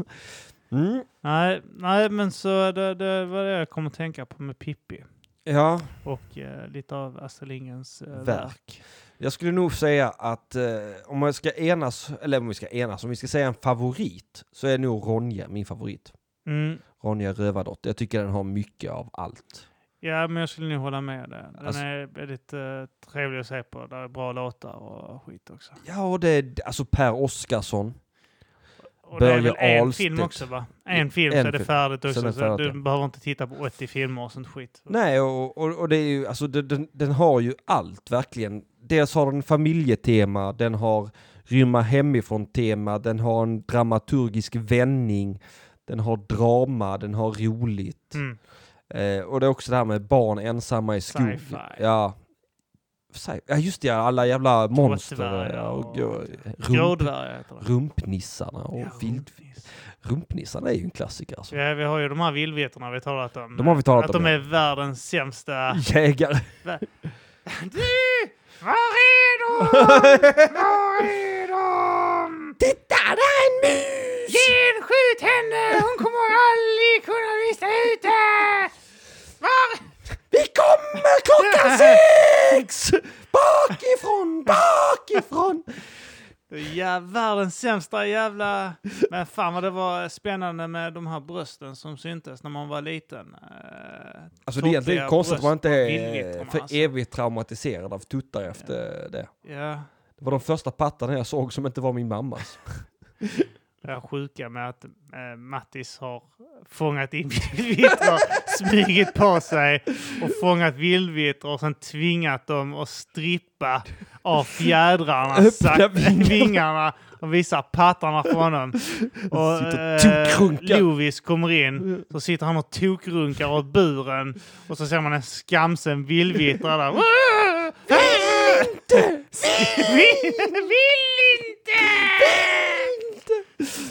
[SPEAKER 2] mm.
[SPEAKER 4] Nej, nej men så det, det var det jag kom att tänka på med Pippi.
[SPEAKER 2] Ja,
[SPEAKER 4] Och eh, lite av Astrid Lindgrens eh, verk.
[SPEAKER 2] verk. Jag skulle nog säga att eh, om man ska enas, eller om vi ska enas, om vi ska säga en favorit så är nog Ronja min favorit.
[SPEAKER 4] Mm.
[SPEAKER 2] Ronja Rövardotter. Jag tycker den har mycket av allt.
[SPEAKER 4] Ja, men jag skulle nog hålla med dig. Den
[SPEAKER 2] Alltså-
[SPEAKER 4] är väldigt eh, trevlig att se på. Där är bra låtar och skit också.
[SPEAKER 2] Ja, och det är alltså Per Oskarsson.
[SPEAKER 4] Och det är väl
[SPEAKER 2] Börje
[SPEAKER 4] en
[SPEAKER 2] Ahlstedt.
[SPEAKER 4] film också va? En film
[SPEAKER 2] En
[SPEAKER 4] så är det
[SPEAKER 2] film.
[SPEAKER 4] färdigt
[SPEAKER 2] Så
[SPEAKER 4] också.
[SPEAKER 2] är
[SPEAKER 4] Så,
[SPEAKER 2] det färdigt,
[SPEAKER 4] du
[SPEAKER 2] ja.
[SPEAKER 4] behöver inte titta på 80 filmer och sånt skit.
[SPEAKER 2] Nej, och, och, och det är ju, alltså den- den, den har ju allt verkligen. Dels har den familjetema, den har rymma hemifrån-tema, den har en dramaturgisk vändning, den har drama, den har roligt.
[SPEAKER 4] Mm.
[SPEAKER 2] Eh, och det är också det här med barn ensamma i skogen.
[SPEAKER 4] Sci-fi.
[SPEAKER 2] Ja. Sci- ja, just det, ja, alla jävla monster.
[SPEAKER 4] Gråsvärgar
[SPEAKER 2] Ja, och,
[SPEAKER 4] och-
[SPEAKER 2] och, rump,
[SPEAKER 4] Grådvärgar heter det.
[SPEAKER 2] rumpnissarna och
[SPEAKER 4] Ja,
[SPEAKER 2] vild,
[SPEAKER 4] rumpnis.
[SPEAKER 2] Rumpnissarna är ju en klassiker alltså.
[SPEAKER 4] Ja, vi har ju de här vildvetarna vi talat om.
[SPEAKER 2] De har vi talat
[SPEAKER 4] att
[SPEAKER 2] om,
[SPEAKER 4] de är världens sämsta...
[SPEAKER 2] Jägare.
[SPEAKER 4] Du! Var är de? Var är de?
[SPEAKER 2] Titta, där är en mus!
[SPEAKER 4] Gen, skjut henne! Hon kommer aldrig kunna lista ut det! Var...
[SPEAKER 2] Vi kommer klockan sex! Bakifrån, bakifrån!
[SPEAKER 4] Ja, världens sämsta jävla... Men fan vad det var spännande med de här brösten som syntes när man var liten. Eh,
[SPEAKER 2] Alltså det är egentligen
[SPEAKER 4] tottiga
[SPEAKER 2] konstigt att man inte
[SPEAKER 4] bröst
[SPEAKER 2] är
[SPEAKER 4] och vildvittrarna,
[SPEAKER 2] för
[SPEAKER 4] alltså.
[SPEAKER 2] evigt traumatiserad av tuttar efter det.
[SPEAKER 4] Ja,
[SPEAKER 2] Det var de första pattarna jag såg som inte var min mammas.
[SPEAKER 4] det här sjuka med att eh, Mattis har fångat in vildvittror, smugit på sig och fångat vildvittror och sen tvingat dem att strippa av fjädrarna,
[SPEAKER 2] Öppna
[SPEAKER 4] sak-
[SPEAKER 2] vingar.
[SPEAKER 4] vingarna och visa pattarna från honom. Och
[SPEAKER 2] Sitter och
[SPEAKER 4] eh,
[SPEAKER 2] tokrunkar.
[SPEAKER 4] Lovis kommer in, så sitter han och tokrunkar åt buren och så ser man en skamsen vildvittra där. Vill inte! Vill inte!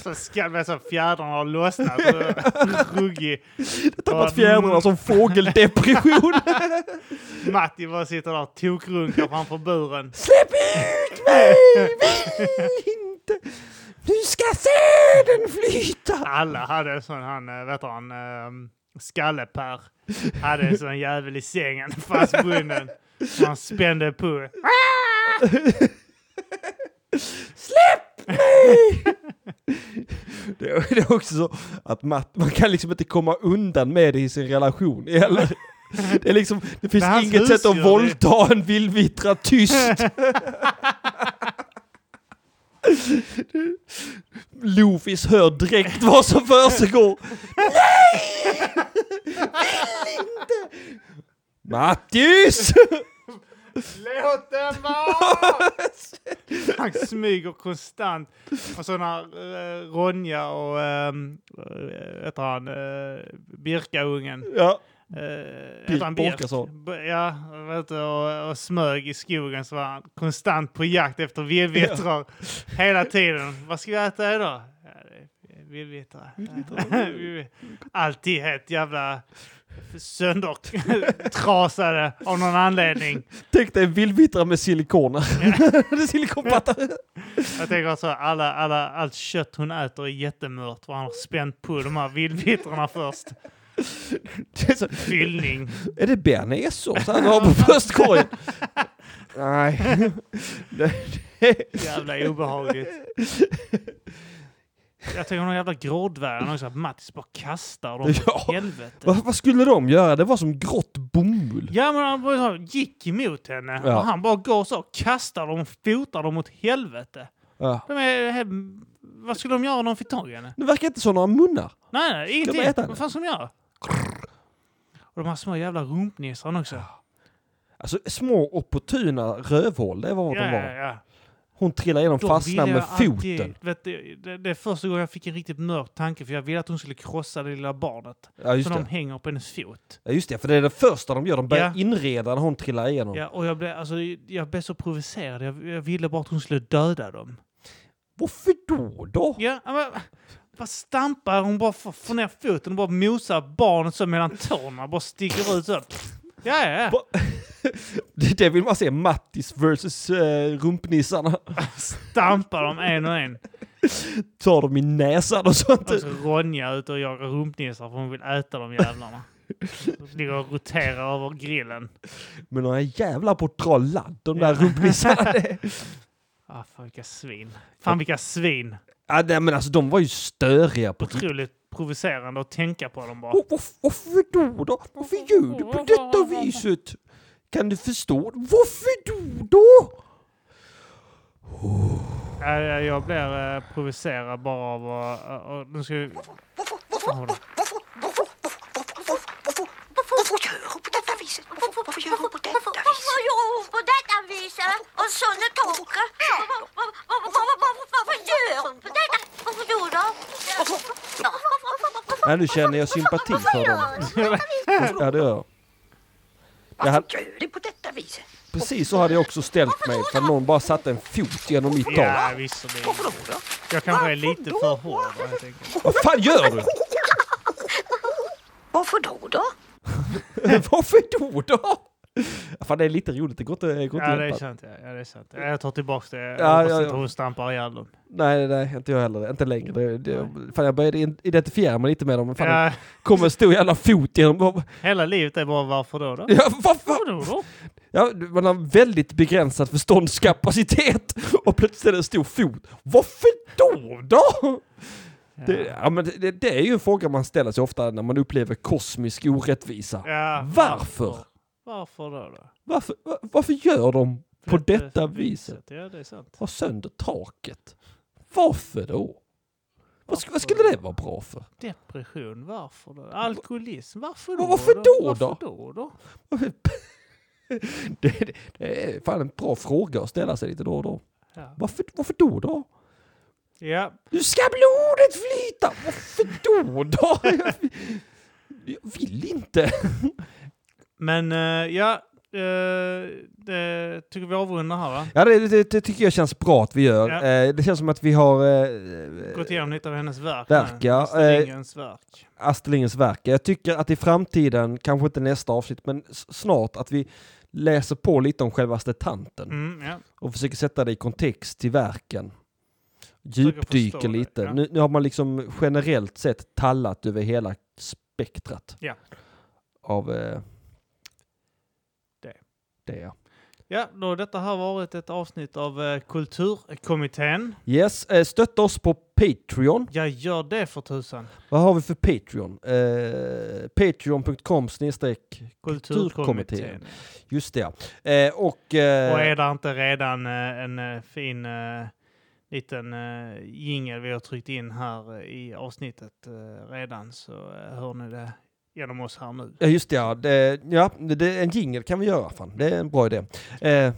[SPEAKER 4] Så ska det så fjädrarna har lossnat och ruggig.
[SPEAKER 2] Tappat fjädrarna som fågeldepression.
[SPEAKER 4] Matti bara sitter där och tokrunkar framför buren.
[SPEAKER 2] Släpp ut mig! Vill inte! Nu ska säden flyta!
[SPEAKER 4] Alla hade en sån, han, eh, vet du han, ehm, Skalle-Per hade en sån jävel i sängen fastbunden. som Han spände på.
[SPEAKER 2] Släpp mig! det, är, det är också så att Matt, man kan liksom inte komma undan med det i sin relation. Eller? Det, är liksom, det finns
[SPEAKER 4] Det är hans
[SPEAKER 2] inget sätt att
[SPEAKER 4] husdjur, det-
[SPEAKER 2] våldta en vildvittra tyst. Lofis hör direkt vad som försiggår. Nej! Vill inte! Mattis!
[SPEAKER 4] Låt den vara! Han smyger konstant. Och så när eh, Ronja och, eh, heter han, eh, Birkaungen,
[SPEAKER 2] Ja.
[SPEAKER 4] eh, heter han Birk?
[SPEAKER 2] Åkesson.
[SPEAKER 4] B- Ja, vet du, och, och smög i skogen så var han konstant på jakt efter vildvittrar hela tiden. Vad ska vi äta idag? Ja, det är Vildvittrar. Vildvittrar. Alltid helt jävla söndertrasade av någon anledning.
[SPEAKER 2] Tänk dig vildvittra med silikoner. Silikonplattor.
[SPEAKER 4] Jag tänker alltså alla, alla, allt kött hon äter är jättemört och han har spänt på de här vildvittrarna först.
[SPEAKER 2] Det är så-
[SPEAKER 4] Fyllning.
[SPEAKER 2] Är det bearnaisesås han har på bröstkorgen? Nej. Det- det-
[SPEAKER 4] Jävla obehagligt. Jag tänker de jävla grådvärgarna också, att Mattis bara kastar dem
[SPEAKER 2] Ja.
[SPEAKER 4] åt helvete.
[SPEAKER 2] Vad, vad skulle de göra? Det var som grått bomull.
[SPEAKER 4] Ja men han bara så gick emot henne
[SPEAKER 2] Ja.
[SPEAKER 4] och han bara går så och kastar dem och fotar dem åt helvete.
[SPEAKER 2] Ja.
[SPEAKER 4] De är, he- vad skulle de göra om de fick tag i henne?
[SPEAKER 2] Det verkar inte som några munnar.
[SPEAKER 4] Nej, nej, ingenting.
[SPEAKER 2] bara äta den?
[SPEAKER 4] Vad fan ska de göra? Och de här små jävla rumpnissarna också.
[SPEAKER 2] Alltså små opportuna rövhål, det var vad de
[SPEAKER 4] Ja, ja,
[SPEAKER 2] var.
[SPEAKER 4] ja.
[SPEAKER 2] Hon trillade igenom,
[SPEAKER 4] Då
[SPEAKER 2] fastnade
[SPEAKER 4] ville
[SPEAKER 2] med
[SPEAKER 4] jag alltid-
[SPEAKER 2] foten.
[SPEAKER 4] Vet, du, det, det är första gången jag fick en riktigt mörk tanke för jag ville att hon skulle krossa det lilla barnet.
[SPEAKER 2] Ja just,
[SPEAKER 4] så de
[SPEAKER 2] det.
[SPEAKER 4] hänger på hennes fot.
[SPEAKER 2] ja just det, för det är det första de gör. De börjar
[SPEAKER 4] Ja.
[SPEAKER 2] inreda när hon trillar igenom.
[SPEAKER 4] Ja, och jag blev, alltså, jag blev så provocerad. Jag, jag ville bara att hon skulle döda dem.
[SPEAKER 2] Varför då då?
[SPEAKER 4] Ja, men, vad stampar hon bara får, får ner foten och bara mosar barnet så mellan tårna. Bara sticker ut så. Ja, ja, ja.
[SPEAKER 2] Va- Det, det vill man se, Mattis versus eh, rumpnissarna.
[SPEAKER 4] Stampar dem en och en.
[SPEAKER 2] Tar dem i näsan och sånt.
[SPEAKER 4] Och så Ronja ute och jagar rumpnissar för hon vill äta de jävlarna. Ligger och roterar över grillen.
[SPEAKER 2] Men de är jävla på att dra ladd, de där rumpnissarna. Det-
[SPEAKER 4] Ah, fan vilka svin. Fan vilka svin.
[SPEAKER 2] ja, nej, men alltså de var ju störiga på riktigt.
[SPEAKER 4] Otroligt provocerande att tänka på dem bara.
[SPEAKER 2] Och varf- Varför då då? Varför gör du på detta viset? Kan du förstå? Varför då då?
[SPEAKER 4] Äh, jag blir eh, provocerad bara av att... eh, och- och nu ska vi... Hålla.
[SPEAKER 6] Varför gör hon på detta viset? Varför gör hon på detta viset?
[SPEAKER 8] Varför gör hon på detta viset? Och Sunne Torke? Varför gör hon på detta? Varför gör hon?
[SPEAKER 2] Nej, nu känner jag sympati för dem. Ja, det gör jag. jag hade,
[SPEAKER 6] Varför gör det på detta viset?
[SPEAKER 2] precis så hade jag också ställt mig för någon bara satte en fot genom mitt tak.
[SPEAKER 4] Ja, visserligen. Jag kanske är lite för hård helt enkelt.
[SPEAKER 2] Vad fan gör du?
[SPEAKER 6] Varför då då?
[SPEAKER 2] Varför då då? Ja, Fan, det är lite roligt. Det går inte, det går inte
[SPEAKER 4] Ja, det är
[SPEAKER 2] hjälpa.
[SPEAKER 4] sant. Ja, ja, det är sant. Ja, Jag tar tillbaka det. Jag
[SPEAKER 2] Ja,
[SPEAKER 4] hoppas
[SPEAKER 2] ja,
[SPEAKER 4] inte
[SPEAKER 2] ja.
[SPEAKER 4] hon stampar ihjäl dem.
[SPEAKER 2] Nej, nej, nej, inte jag heller. Inte längre. Det, det, fan, jag började in- identifiera mig lite med dem. men Fan,
[SPEAKER 4] Ja,
[SPEAKER 2] det kommer en stor jävla fot genom...
[SPEAKER 4] hela livet är bara varför då? då?
[SPEAKER 2] Ja, vad fan?
[SPEAKER 4] Vadå då?
[SPEAKER 2] Ja, man har väldigt begränsad förståndskapacitet och plötsligt är det en stor fot. Varför då då? Det, ja, men det, det är ju en fråga man ställer sig ofta när man upplever kosmisk orättvisa.
[SPEAKER 4] Ja,
[SPEAKER 2] Varför?
[SPEAKER 4] Varför då? då?
[SPEAKER 2] Varför, va- varför gör de på
[SPEAKER 4] Detta
[SPEAKER 2] detta viset?
[SPEAKER 4] Ja, det är sant.
[SPEAKER 2] Har sönder taket. Varför då? Vad, sk- vad skulle det vara bra för?
[SPEAKER 4] Depression, varför då? Alkoholism, varför då?
[SPEAKER 2] Men varför då
[SPEAKER 4] Varför
[SPEAKER 2] då?
[SPEAKER 4] då? då?
[SPEAKER 2] Det, det, det är fan en bra fråga att ställa sig lite då och då.
[SPEAKER 4] Ja.
[SPEAKER 2] Varför, varför då då?
[SPEAKER 4] ja,
[SPEAKER 2] Nu ska blodet flyta! Varför då då? Jag vill- Jag vill inte.
[SPEAKER 4] men eh, ja, eh, det tycker vi avrundar här va?
[SPEAKER 2] Ja, det, det, det tycker jag känns bra att vi gör.
[SPEAKER 4] Ja.
[SPEAKER 2] Eh, det känns som att vi har eh,
[SPEAKER 4] Gått igenom lite av hennes verk.
[SPEAKER 2] Verk,
[SPEAKER 4] nu.
[SPEAKER 2] ja.
[SPEAKER 4] Astrid
[SPEAKER 2] Eh,
[SPEAKER 4] Lindgrens verk.
[SPEAKER 2] Astrid Lindgrens verk. Jag tycker att i framtiden, kanske inte nästa avsnitt, men s- snart, att vi läser på lite om självaste tanten
[SPEAKER 4] Mm, ja.
[SPEAKER 2] och försöker sätta det i kontext till verken.
[SPEAKER 4] Försöker
[SPEAKER 2] Djupdyker
[SPEAKER 4] förstå det,
[SPEAKER 2] lite.
[SPEAKER 4] ja.
[SPEAKER 2] Nu, nu har man liksom generellt sett tallat över hela spektrat
[SPEAKER 4] Ja.
[SPEAKER 2] av eh,
[SPEAKER 4] Det.
[SPEAKER 2] det. Ja.
[SPEAKER 4] ja, då har detta här varit ett avsnitt av eh, Kulturkommittén.
[SPEAKER 2] Yes, eh, stötta oss på Patreon.
[SPEAKER 4] Jag gör det för tusan.
[SPEAKER 2] Vad har vi för Patreon? Eh, Patreon.com snedstreck.
[SPEAKER 4] Kulturkommittén.
[SPEAKER 2] Kulturkommittén. Just det. ja. Eh, och... Eh,
[SPEAKER 4] Och är det inte redan eh, en eh, fin eh, liten eh, jingel vi har tryckt in här eh, i avsnittet eh, redan så eh, hör ni det genom oss här nu.
[SPEAKER 2] Ja just det, ja. Det, ja det, en jingel kan vi göra fan. Det är en bra idé. Eh,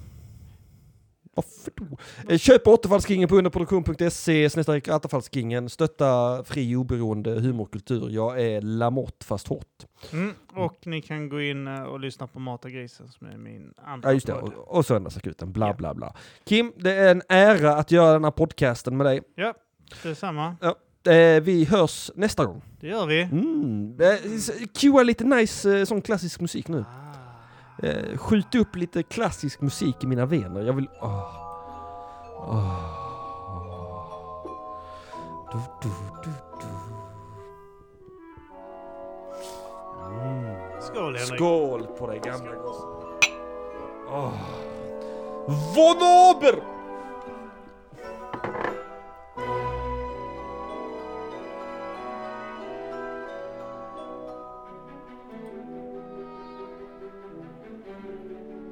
[SPEAKER 2] varför då? Eh, köp återfallskingen på underproduktion.se snedstreck återfallskingen. Stötta fri oberoende humorkultur. Jag är Lamotte fast hårt.
[SPEAKER 4] Mm. Och ni kan gå in eh, och lyssna på Mata grisen som är min andra
[SPEAKER 2] Ja just det,
[SPEAKER 4] podd.
[SPEAKER 2] och, och söndagsakuten. Bla bla bla. Kim, det är en ära att göra den här podcasten med dig.
[SPEAKER 4] Ja, detsamma.
[SPEAKER 2] Eh, vi hörs nästa gång.
[SPEAKER 4] Det gör vi.
[SPEAKER 2] Mm. Eh, s- Cua lite nice eh, sån klassisk musik nu. Eh, skjut upp lite klassisk musik i mina vener. Jag vill... Åh. Åh. Du, du, du, du. Mm.
[SPEAKER 4] Skål Henrik.
[SPEAKER 2] Skål på dig gamla gosse. Åh. Von ober!